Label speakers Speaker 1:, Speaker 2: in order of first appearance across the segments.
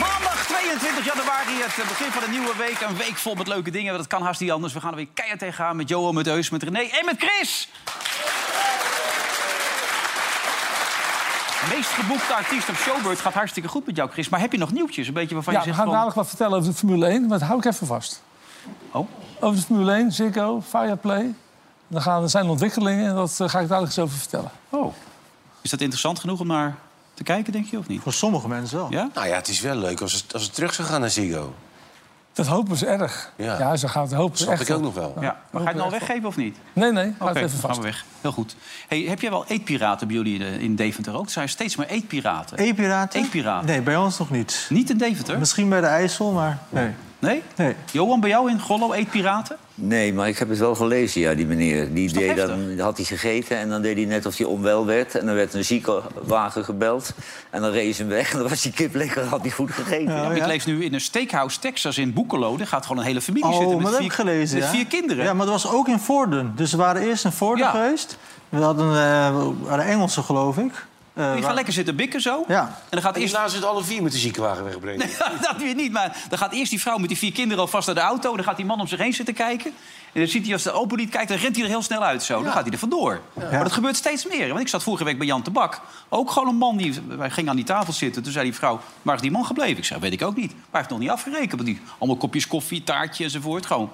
Speaker 1: Maandag 22 januari, het begin van de nieuwe week. Een week vol met leuke dingen. Dat kan haast niet anders. We gaan er weer keihard tegenaan met Johan, met Eus, met René en met Chris. Meest geboekte artiest op Showbird gaat hartstikke goed met jou, Chris. Maar heb je nog nieuwtjes? Een beetje waarvan
Speaker 2: Ja,
Speaker 1: je
Speaker 2: we
Speaker 1: zegt
Speaker 2: gaan
Speaker 1: van...
Speaker 2: dadelijk wat vertellen over de Formule 1, maar dat hou ik even vast.
Speaker 1: Oh,
Speaker 2: Over de Formule 1, Ziggo, Fireplay. Dan gaan, er zijn ontwikkelingen en dat eh, ga ik dadelijk eens over vertellen.
Speaker 1: oh. Is dat interessant genoeg om naar te kijken, denk je, of
Speaker 2: Eh,
Speaker 1: niet?
Speaker 3: Voor sommige mensen wel.
Speaker 1: Ja?
Speaker 4: Nou ja, het is wel leuk als het, als het terug zou gaan naar Ziggo.
Speaker 2: Dat hopen ze erg.
Speaker 4: Ja.
Speaker 2: ze gaan het hopen ze
Speaker 4: Snap
Speaker 2: echt.
Speaker 4: ik ook
Speaker 2: wel.
Speaker 4: nog
Speaker 1: Ja.
Speaker 4: wel.
Speaker 1: Maar ga je het nou weggeven of niet?
Speaker 2: Nee, nee, hou
Speaker 1: Oké,
Speaker 2: het
Speaker 1: dan
Speaker 2: even
Speaker 1: gaan
Speaker 2: vast.
Speaker 1: we weg. Heel goed. Hey, heb jij wel eetpiraten bij jullie eh, in Deventer ook? Er zijn steeds meer eetpiraten.
Speaker 3: E-piraten?
Speaker 1: E-piraten.
Speaker 3: Nee, bij ons nog niet.
Speaker 1: Niet in Deventer?
Speaker 3: Misschien bij de IJssel, maar nee.
Speaker 1: Nee?
Speaker 3: Nee. Oh,
Speaker 1: Johan, bij jou in Gollo eetpiraten?
Speaker 5: Nee, maar ik heb het wel gelezen, ja, die meneer. Die
Speaker 1: toch
Speaker 5: deed dan, had hij gegeten en dan deed hij net of hij onwel werd. En dan werd een ziekenwagen gebeld. En dan rees hem weg en dan was die kip lekker, had hij goed gegeten.
Speaker 3: Oh,
Speaker 1: Ik
Speaker 3: ja?
Speaker 1: leef nu in een steakhouse Texas in Boekelo. Daar gaat gewoon een hele familie zitten
Speaker 3: Oh,
Speaker 1: met
Speaker 3: maar dat
Speaker 1: vier,
Speaker 3: heb ik gelezen.
Speaker 1: met
Speaker 3: ja.
Speaker 1: vier kinderen.
Speaker 3: Ja, maar dat was ook in Voorden. Dus we waren eerst in Voorden
Speaker 1: Ja.
Speaker 3: geweest. We hadden, eh, we waren Engelsen, geloof ik. Eh,
Speaker 1: die gaan
Speaker 3: waar-
Speaker 1: lekker zitten bikken zo.
Speaker 3: Ja.
Speaker 1: En dan gaat
Speaker 4: En
Speaker 1: eerst...
Speaker 4: hierna zit alle vier met de ziekenwagen wegbrengen.
Speaker 1: dat weer niet, maar dan gaat eerst die vrouw met die vier kinderen alvast naar de auto. Dan gaat die man om zich heen zitten kijken. En dan ziet hij als de open niet kijkt, dan rent hij er heel snel uit zo. Dan gaat hij er vandoor. Maar dat gebeurt steeds meer. Want ik zat vorige week bij Jan Tabak. Ook gewoon een man die... Wij gingen aan die tafel zitten. Toen zei die vrouw, waar is die man gebleven? Ik zei, weet ik ook niet. Maar hij heeft nog niet afgerekend. Want die, allemaal kopjes koffie, taartje enzovoort. Gewoon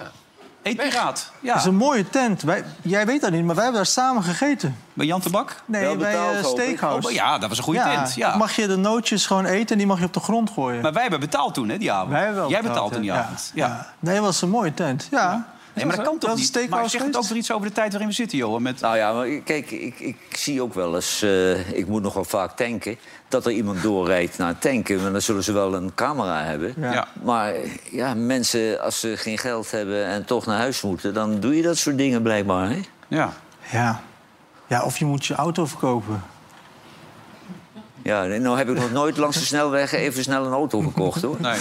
Speaker 1: eetpiraat.
Speaker 3: Het
Speaker 1: Ja.
Speaker 3: is een mooie tent. Wij, jij weet dat niet, maar wij hebben daar samen gegeten.
Speaker 1: Bij Jan Tabak?
Speaker 3: Nee,
Speaker 5: Wel
Speaker 3: bij
Speaker 5: betaald,
Speaker 3: eh,
Speaker 5: hoop ik.
Speaker 3: Steakhouse.
Speaker 1: Oh, ja, dat was een goede
Speaker 3: Ja,
Speaker 1: tent. Ja.
Speaker 3: Mag je de nootjes gewoon eten en die mag je op de grond gooien.
Speaker 1: Maar wij hebben betaald toen, hè, die avond.
Speaker 3: Wij hebben wel
Speaker 1: Jij
Speaker 3: betaald,
Speaker 1: betaalt toen die
Speaker 3: ja.
Speaker 1: avond. Ja.
Speaker 3: Nee, dat was een mooie tent. Ja.
Speaker 1: Nee, maar dat kan toch
Speaker 3: is
Speaker 1: niet?
Speaker 3: steakhouse
Speaker 1: Maar zegt het ook
Speaker 3: geweest?
Speaker 1: weer iets over de tijd waarin we zitten, Johan? Met...
Speaker 5: Nou ja, maar kijk, ik, ik zie ook wel eens, eh, ik moet nog wel vaak tanken, dat er iemand doorrijdt naar het tanken. Maar dan zullen ze wel een camera hebben.
Speaker 3: Ja.
Speaker 1: Ja.
Speaker 5: Maar ja, mensen, als ze geen geld hebben en toch naar huis moeten, dan doe je dat soort dingen blijkbaar. Hè?
Speaker 1: ja.
Speaker 3: Ja. ja, of je moet je auto verkopen.
Speaker 5: Ja, nee, nou heb ik nog nooit langs de snelweg even snel een auto gekocht hoor.
Speaker 1: Nee.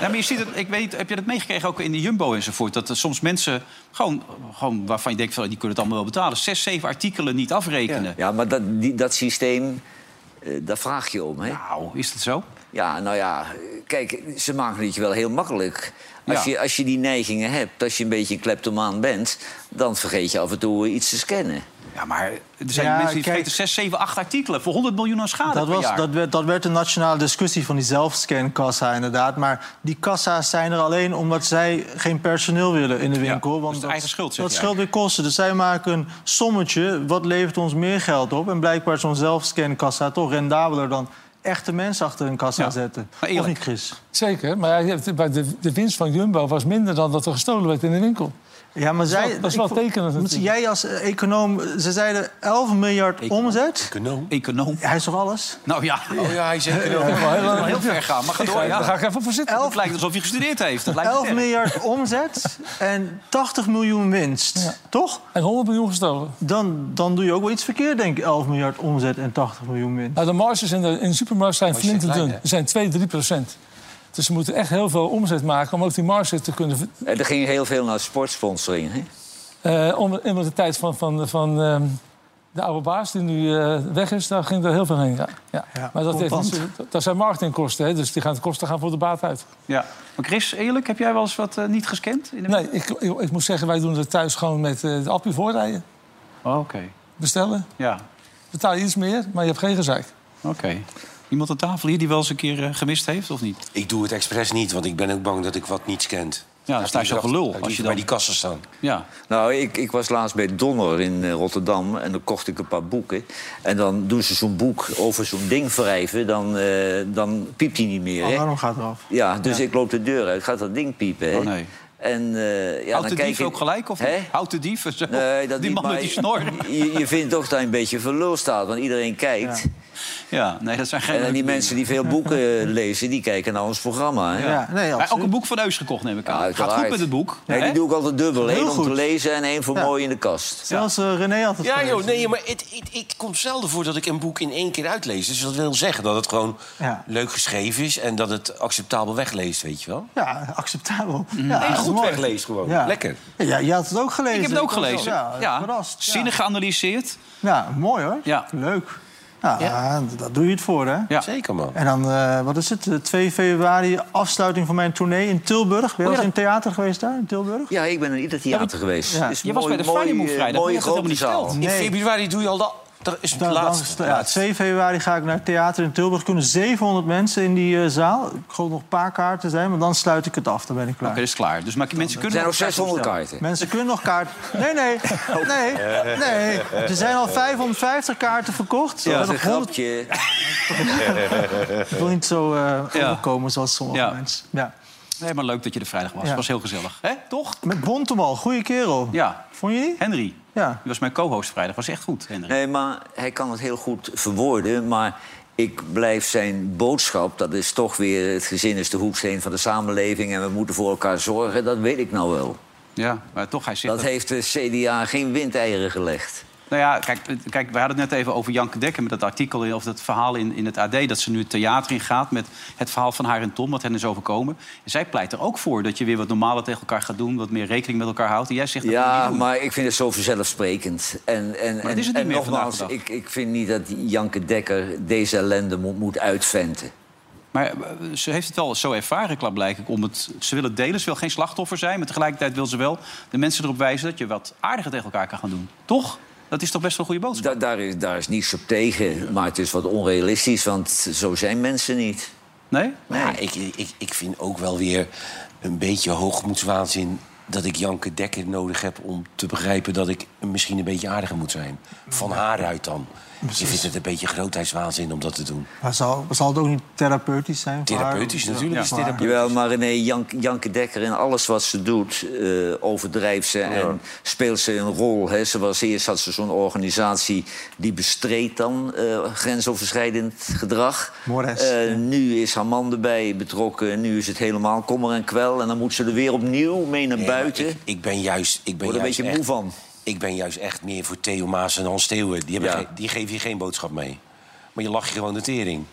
Speaker 1: Ja, maar je ziet het, ik weet, heb je dat meegekregen ook in de Jumbo enzovoort? Dat er soms mensen, gewoon, gewoon waarvan je denkt, van, die kunnen het allemaal wel betalen... zes, zeven artikelen niet afrekenen.
Speaker 5: Ja, maar dat, die, dat systeem, eh, daar vraag je om. Hè?
Speaker 1: Nou, is dat zo?
Speaker 5: Ja, nou ja, kijk, ze maken het je wel heel makkelijk. Als,
Speaker 1: Ja.
Speaker 5: je, als je die neigingen hebt, als je een beetje een kleptomaan bent... dan vergeet je af en toe eh, iets te scannen.
Speaker 1: Ja, maar er zijn
Speaker 3: Ja,
Speaker 1: mensen die
Speaker 3: kijk.
Speaker 1: vergeten zes, zeven, acht artikelen... voor 100 miljoen aan schade
Speaker 3: Dat,
Speaker 1: Ah, per
Speaker 3: was,
Speaker 1: jaar.
Speaker 3: dat, werd, dat werd een nationale discussie van die zelfscankassa inderdaad. Maar die kassa's zijn er alleen omdat zij geen personeel willen in de winkel.
Speaker 1: dus
Speaker 3: want
Speaker 1: de
Speaker 3: dat,
Speaker 1: eigen schuld, zeg
Speaker 3: dat
Speaker 1: je
Speaker 3: scheelt weer kosten. Dus zij maken een sommetje, wat levert ons meer geld op? En blijkbaar is zo'n zelfscankassa toch rendabeler dan echte mensen achter een kassa
Speaker 1: Ja.
Speaker 3: zetten.
Speaker 1: Maar
Speaker 3: Of
Speaker 1: eerlijk.
Speaker 3: niet, Chris?
Speaker 2: Zeker, maar ja, het- bij de, de winst van Jumbo was minder dan dat er gestolen werd in de winkel.
Speaker 3: Ja, maar
Speaker 2: is
Speaker 3: zij,
Speaker 2: wel- dat is
Speaker 3: ik
Speaker 2: wel
Speaker 3: vond-
Speaker 2: tekenend
Speaker 3: moet-
Speaker 2: natuurlijk.
Speaker 3: Jij als eh, econoom, ze zeiden 11 miljard omzet.
Speaker 4: Econoom.
Speaker 1: Econoom.
Speaker 3: Hij is toch alles?
Speaker 1: Nou ja,
Speaker 4: Oh ja, hij zegt econoom.
Speaker 2: Wel heel
Speaker 1: wel
Speaker 2: lang-
Speaker 1: heel ver gaan. Maar ga door,
Speaker 2: Daar
Speaker 1: ja.
Speaker 2: ga ik even voor zitten.
Speaker 1: Het lijkt alsof je gestudeerd heeft. Dat lijkt me
Speaker 3: 11
Speaker 1: erg.
Speaker 3: miljard omzet en 80 miljoen winst, toch?
Speaker 2: En 100 miljoen gestolen.
Speaker 3: Dan, dan doe je ook wel iets verkeerd, denk ik. 11 miljard omzet en 80 miljoen winst.
Speaker 2: Nou, de marges in de, in de supermarkt zijn flink te
Speaker 4: zijn klein,
Speaker 2: dun. Ze zijn 2, 3 procent. Dus ze moeten echt heel veel omzet maken om ook die marge te kunnen... ver-
Speaker 5: Eh, Er ging heel veel naar sportsponsoring. Hè?
Speaker 2: eh om, in de tijd van, van, van ehm, de oude baas die nu eh, weg is, daar ging er heel veel heen. Ja. Ja.
Speaker 3: Ja,
Speaker 2: maar dat, heeft,
Speaker 3: contant.
Speaker 2: natuurlijk- dat zijn marketingkosten, hè, dus die gaan de kosten gaan voor de baat uit.
Speaker 1: Ja. Maar Chris, eerlijk, heb jij wel eens wat eh, niet gescand? In de...
Speaker 2: Nee, ik, ik, ik moet zeggen, wij doen het thuis gewoon met eh, de appie voorrijden.
Speaker 1: Oh, Oké.
Speaker 2: Bestellen,
Speaker 1: Ja,
Speaker 2: betaal je iets meer, maar je hebt geen gezeik.
Speaker 1: oké. Iemand aan tafel hier die wel eens een keer eh, gemist heeft, of niet?
Speaker 4: Ik doe het expres niet, want ik ben ook bang dat ik wat niet scant.
Speaker 1: Ja, dan sta je zo gelul. Als je
Speaker 4: bij
Speaker 1: dan...
Speaker 4: die kassen staan.
Speaker 1: Ja.
Speaker 5: Nou, ik, ik was laatst bij Donner in eh, Rotterdam en dan kocht ik een paar boeken. En dan doen ze zo'n boek over zo'n ding wrijven, dan, eh, dan piept hij niet meer.
Speaker 3: Oh,
Speaker 5: hè?
Speaker 3: waarom gaat eraf?
Speaker 5: Ja, dus ik loop de deur uit, gaat dat ding piepen. hè?
Speaker 1: Oh, nee.
Speaker 5: En eh ja,
Speaker 1: Houdt de
Speaker 5: dan kijk
Speaker 1: dief
Speaker 5: ik-
Speaker 1: ook gelijk? Of
Speaker 5: Hè?
Speaker 1: niet? Houdt de dief? Zo.
Speaker 5: Nee, dat
Speaker 1: die
Speaker 5: niet,
Speaker 1: man met
Speaker 5: maar
Speaker 1: die snor.
Speaker 5: Je, je vindt toch dat hij een beetje verlul staat, want iedereen kijkt.
Speaker 1: Ja, nee, dat zijn geen...
Speaker 5: En die
Speaker 1: leuke
Speaker 5: mensen die veel boeken lezen, die kijken naar ons programma. Hè?
Speaker 3: Ja, nee,
Speaker 1: Maar ook
Speaker 3: absoluut.
Speaker 1: een boek van Eus gekocht, neem ik aan.
Speaker 5: Ja,
Speaker 1: Gaat
Speaker 5: uiteraard.
Speaker 1: goed met het boek.
Speaker 5: Nee,
Speaker 1: hè?
Speaker 5: die doe ik altijd dubbel.
Speaker 3: Heel
Speaker 5: Eén om te
Speaker 3: goed.
Speaker 5: lezen en één voor
Speaker 3: Ja.
Speaker 5: mooi in de kast.
Speaker 3: Zelfs eh, René had het
Speaker 4: Ja,
Speaker 3: gelezen.
Speaker 4: joh, nee, maar het, het, het komt zelden voor dat ik een boek in één keer uitlees. Dus dat wil zeggen dat het gewoon
Speaker 3: Ja.
Speaker 4: leuk geschreven is... en dat het acceptabel wegleest, weet je wel?
Speaker 3: Ja, acceptabel. Ja,
Speaker 4: Nee,
Speaker 3: dat is
Speaker 4: goed
Speaker 3: mooi.
Speaker 4: wegleest gewoon.
Speaker 3: Ja.
Speaker 4: Lekker.
Speaker 3: Ja, je had het ook gelezen.
Speaker 1: Ik heb het ook gelezen.
Speaker 3: Ja,
Speaker 1: Ja,
Speaker 3: verrast. Ja.
Speaker 1: Zinnig geanalyseerd.
Speaker 3: Ja, mooi hoor.
Speaker 1: Ja.
Speaker 3: Leuk. Ja, d- daar doe je het voor, hè?
Speaker 1: Ja.
Speaker 4: Zeker, man.
Speaker 3: En dan, eh, wat is het? eh, 2 februari, afsluiting van mijn tournee in Tilburg. Ben je wel eens in theater geweest daar, in Tilburg?
Speaker 5: Ja, ik ben in ieder theater geweest.
Speaker 3: ja.
Speaker 5: Is
Speaker 1: Je was
Speaker 5: mooi-
Speaker 1: bij de Friday
Speaker 5: mooi,
Speaker 1: Move
Speaker 5: eh,
Speaker 1: vrijdag, maar
Speaker 5: Mooie
Speaker 1: je had het
Speaker 5: grote
Speaker 1: helemaal
Speaker 5: zaal.
Speaker 1: niet
Speaker 4: In
Speaker 3: Nee.
Speaker 4: februari doe je al dat. Dat is het
Speaker 3: Dan- dan-
Speaker 4: laatste.
Speaker 3: ja, 2 februari ga ik naar het theater in Tilburg. kunnen 700 mensen in die eh, zaal. Ik geloof nog een paar kaarten zijn, maar dan sluit ik het af. Dan ben ik klaar.
Speaker 1: Oké, dat is klaar. Dus maar mensen
Speaker 5: Er
Speaker 1: kunnen...
Speaker 5: zijn nog
Speaker 1: nog kaarten
Speaker 5: 600
Speaker 1: bestellen.
Speaker 5: kaarten.
Speaker 3: Mensen kunnen nog kaart. Nee, nee, nee, nee. Er zijn al 550 kaarten verkocht.
Speaker 1: Ja,
Speaker 3: Ja,
Speaker 5: Dat is een grapje.
Speaker 3: Ik wil niet zo eh
Speaker 1: Ja.
Speaker 3: overkomen zoals sommige
Speaker 1: Ja.
Speaker 3: mensen. Ja.
Speaker 1: Nee, maar leuk dat je er vrijdag was.
Speaker 3: Ja.
Speaker 1: Het was heel gezellig. hè? Toch?
Speaker 3: Met Bontemal, goede kerel.
Speaker 1: Ja.
Speaker 3: Vond je niet?
Speaker 1: Henry.
Speaker 3: Ja.
Speaker 1: Die was mijn co-host vrijdag. Was echt goed, Henry.
Speaker 5: Nee, maar hij kan het heel goed verwoorden. Maar ik blijf zijn boodschap, dat is toch weer... het gezin is de hoeksteen van de samenleving... en we moeten voor elkaar zorgen, dat weet ik nou wel.
Speaker 1: Ja, maar toch, hij zegt...
Speaker 5: Dat heeft de CDA geen windeieren gelegd.
Speaker 1: Nou ja, kijk, het- kijk, we hadden het net even over Janke Dekker... met dat artikel in- of dat verhaal in, in het AD... dat ze nu het theater in gaat met het verhaal van haar en Tom... wat hen is overkomen. En zij pleit er ook voor dat je weer wat normaler tegen elkaar gaat doen... wat meer rekening met elkaar houdt. En jij zegt dat moet je
Speaker 5: Ja,
Speaker 1: niet doen.
Speaker 5: maar ik vind het zo vanzelfsprekend. En, en,
Speaker 1: dat
Speaker 5: en,
Speaker 1: is het niet
Speaker 5: en
Speaker 1: meer
Speaker 5: nogmaals,
Speaker 1: vandaag de
Speaker 5: ik, ik vind niet dat Janke Dekker deze ellende moet, moet uitventen.
Speaker 1: Maar eh, ze heeft het wel zo ervaren, klaarblijkelijk. Om het, ze wil het delen, ze wil geen slachtoffer zijn. Maar tegelijkertijd wil ze wel de mensen erop wijzen... dat je wat aardiger tegen elkaar kan gaan doen. Toch? Dat is toch best wel een goede boodschap?
Speaker 5: Da- daar, is, daar is niets op tegen, maar het is wat onrealistisch, want zo zijn mensen niet.
Speaker 1: Nee?
Speaker 4: Maar ja, ik, ik, ik vind ook wel weer een beetje hoogmoedswaanzin... dat ik Janke Dekker nodig heb om te begrijpen... dat ik misschien een beetje aardiger moet zijn. Van haar uit dan. Ik vind het een beetje grootheidswaanzin om dat te doen.
Speaker 3: Maar zal, zal het ook niet therapeutisch zijn? voor haar?
Speaker 4: Therapeutisch natuurlijk.
Speaker 1: Ja.
Speaker 4: is therapeutisch.
Speaker 5: Jawel, maar René, Jank, Janke Dekker in alles wat ze doet, eh, overdrijft ze en speelt ze een rol. Hè. Ze was eerst had ze zo'n organisatie die bestreed dan eh, grensoverschrijdend gedrag.
Speaker 3: Mores,
Speaker 5: Eh, Nu is haar man erbij betrokken, nu is het helemaal kommer en kwel. En dan moet ze er weer opnieuw mee naar
Speaker 4: Nee, maar
Speaker 5: buiten.
Speaker 4: Ik, ik ben juist... Ik ben
Speaker 5: Word er een
Speaker 4: juist
Speaker 5: beetje moe
Speaker 4: echt-
Speaker 5: van.
Speaker 4: Ik ben juist echt meer voor Theo Maas en Hans Steeuwen. Die, hebben
Speaker 5: Ja.
Speaker 4: ge- die geven je geen boodschap mee. Maar je lacht je gewoon de tering.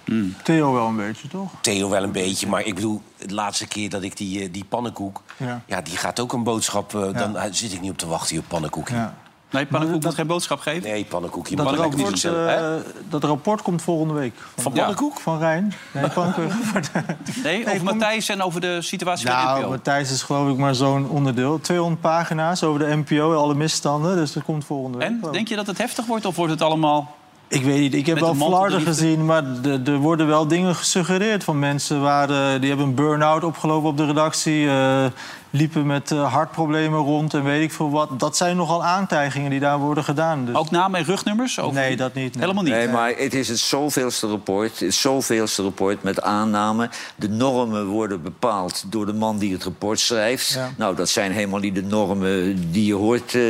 Speaker 3: Theo wel een beetje, toch?
Speaker 4: Theo wel een beetje, maar ik bedoel, de laatste keer dat ik die, eh, die pannenkoek...
Speaker 3: Ja.
Speaker 4: Ja. die gaat ook een boodschap... eh, Dan eh, zit ik niet op te wachten, joh, pannenkoekje.
Speaker 3: Ja.
Speaker 1: Nee, Pannenkoek moet geen boodschap geven?
Speaker 4: Nee, pannenkoekje.
Speaker 3: Dat,
Speaker 4: pannenkoek
Speaker 1: lekker
Speaker 4: niet
Speaker 3: rapport,
Speaker 4: zo zelf, hè?
Speaker 3: eh, dat rapport komt volgende week. Van,
Speaker 1: Van Pannenkoek?
Speaker 3: Van Rijn. Nee, Pannenkoek.
Speaker 1: Nee, over
Speaker 3: kom-
Speaker 1: Matthijs en over de situatie bij de
Speaker 3: nou,
Speaker 1: NPO.
Speaker 3: Matthijs is geloof ik maar zo'n onderdeel. 200 pagina's over de NPO en alle misstanden. Dus dat komt volgende week.
Speaker 1: En,
Speaker 3: geloof ik.
Speaker 1: denk je dat het heftig wordt of wordt het allemaal...
Speaker 3: Ik weet niet, ik heb
Speaker 1: Met
Speaker 3: wel
Speaker 1: de mantel
Speaker 3: flarden
Speaker 1: de liefde.
Speaker 3: gezien, maar de- er worden wel dingen gesuggereerd van mensen waar, eh, die hebben een burn-out opgelopen op de redactie, eh, liepen met eh, hartproblemen rond en weet ik veel wat. Dat zijn nogal aantijgingen die daar worden gedaan. Dus
Speaker 1: Ook namen en rugnummers? Ook
Speaker 3: nee, dat niet. nee.
Speaker 1: Helemaal niet.
Speaker 5: Nee, maar het is het zoveelste rapport, het zoveelste rapport met aanname. De normen worden bepaald door de man die het rapport schrijft.
Speaker 3: Ja.
Speaker 5: Nou, dat zijn helemaal niet de normen die je hoort eh,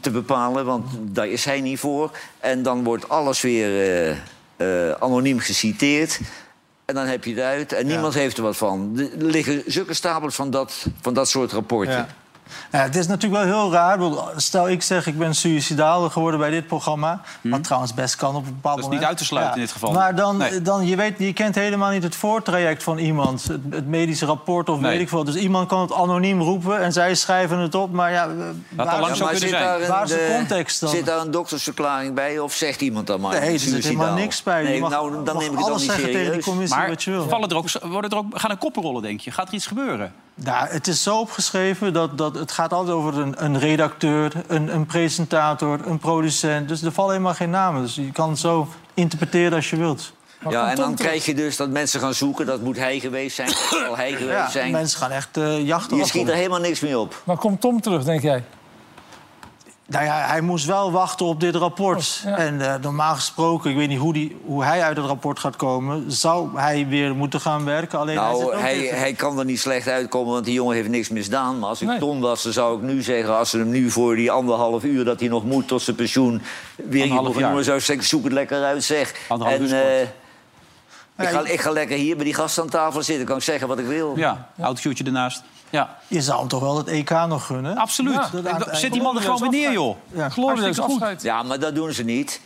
Speaker 5: te bepalen, want daar is hij niet voor. En dan wordt alles weer eh, eh, anoniem geciteerd. En dan heb je het uit. En niemand heeft er wat van. Er liggen zulke stapels van dat, van dat soort rapporten.
Speaker 3: Ja. Ja, het is natuurlijk wel heel raar. Ik bedoel, Stel, ik zeg ik ben suïcidaal geworden bij dit programma. Wat trouwens best kan op een bepaald moment.
Speaker 1: Mhm. Dat is niet uit te sluiten in dit geval.
Speaker 3: Maar dan,
Speaker 1: Nee.
Speaker 3: dan je, weet, je kent helemaal niet het voortraject van iemand. Het, het medische rapport of
Speaker 1: Nee.
Speaker 3: weet ik veel. Dus iemand kan het anoniem roepen en zij schrijven het op. Maar ja, eh,
Speaker 1: al
Speaker 3: waar-
Speaker 1: lang zo
Speaker 5: maar
Speaker 1: kunnen
Speaker 5: zit
Speaker 1: zijn.
Speaker 5: daar, een,
Speaker 3: Waar is de
Speaker 5: eh,
Speaker 3: context dan?
Speaker 5: zit daar een doktersverklaring bij of zegt iemand dan
Speaker 3: Nee,
Speaker 5: maar?
Speaker 3: er zit
Speaker 5: suicidaal?
Speaker 3: helemaal niks bij. Je
Speaker 5: Nee,
Speaker 3: mag-
Speaker 5: nou, dan
Speaker 3: mag
Speaker 5: neem ik het dan
Speaker 3: alles
Speaker 5: niet
Speaker 3: zeggen tegen die
Speaker 5: serieus.
Speaker 3: commissie
Speaker 1: Maar
Speaker 3: wat je wil.
Speaker 1: vallen er ook, worden er ook, gaan er koppen rollen, denk je? Gaat er iets gebeuren?
Speaker 3: Nou, het is zo opgeschreven dat, dat het gaat altijd over een, een redacteur, een, een presentator, een producent. Dus er vallen helemaal geen namen. Dus je kan het zo interpreteren als je wilt.
Speaker 5: Ja, en dan krijg je dus dat mensen gaan zoeken. Dat moet hij geweest zijn, dat zal hij geweest
Speaker 3: Ja,
Speaker 5: zijn.
Speaker 3: mensen gaan echt eh jachten.
Speaker 5: Je
Speaker 3: op
Speaker 5: schiet
Speaker 3: hem.
Speaker 5: er helemaal niks mee op.
Speaker 2: Maar komt Tom terug, denk jij?
Speaker 3: Nou ja, hij moest wel wachten op dit rapport.
Speaker 2: Oh, ja.
Speaker 3: En eh, normaal gesproken, ik weet niet hoe, die, hoe hij uit het rapport gaat komen... zou hij weer moeten gaan werken. Alleen hij zit
Speaker 5: Nou,
Speaker 3: ook
Speaker 5: hij,
Speaker 3: tegen-
Speaker 5: hij kan er niet slecht uitkomen, want die jongen heeft niks misdaan. Maar als ik
Speaker 2: Nee.
Speaker 5: Ton was, dan zou ik nu zeggen... als ze hem nu voor die anderhalf uur dat hij nog moet tot zijn pensioen... weer
Speaker 1: Anderhalf
Speaker 5: iemand gaan
Speaker 1: jaar.
Speaker 5: noemen, zou ik zeggen, zoek het lekker uit, zeg.
Speaker 1: Anderhalf uur sport.
Speaker 5: eh, ik, ga, ik ga lekker hier bij die gast aan tafel zitten. kan ik zeggen wat ik wil.
Speaker 1: Ja, oud shootje ernaast. Ja,
Speaker 3: Je zou hem toch wel het EK nog gunnen?
Speaker 1: absoluut.
Speaker 2: Ja,
Speaker 3: dat-
Speaker 1: Ik- Zet die man er gewoon weer neer, joh.
Speaker 3: Ja.
Speaker 2: Glorieus
Speaker 1: Hartstikke goed.
Speaker 2: afscheid.
Speaker 5: Ja, maar dat doen ze niet.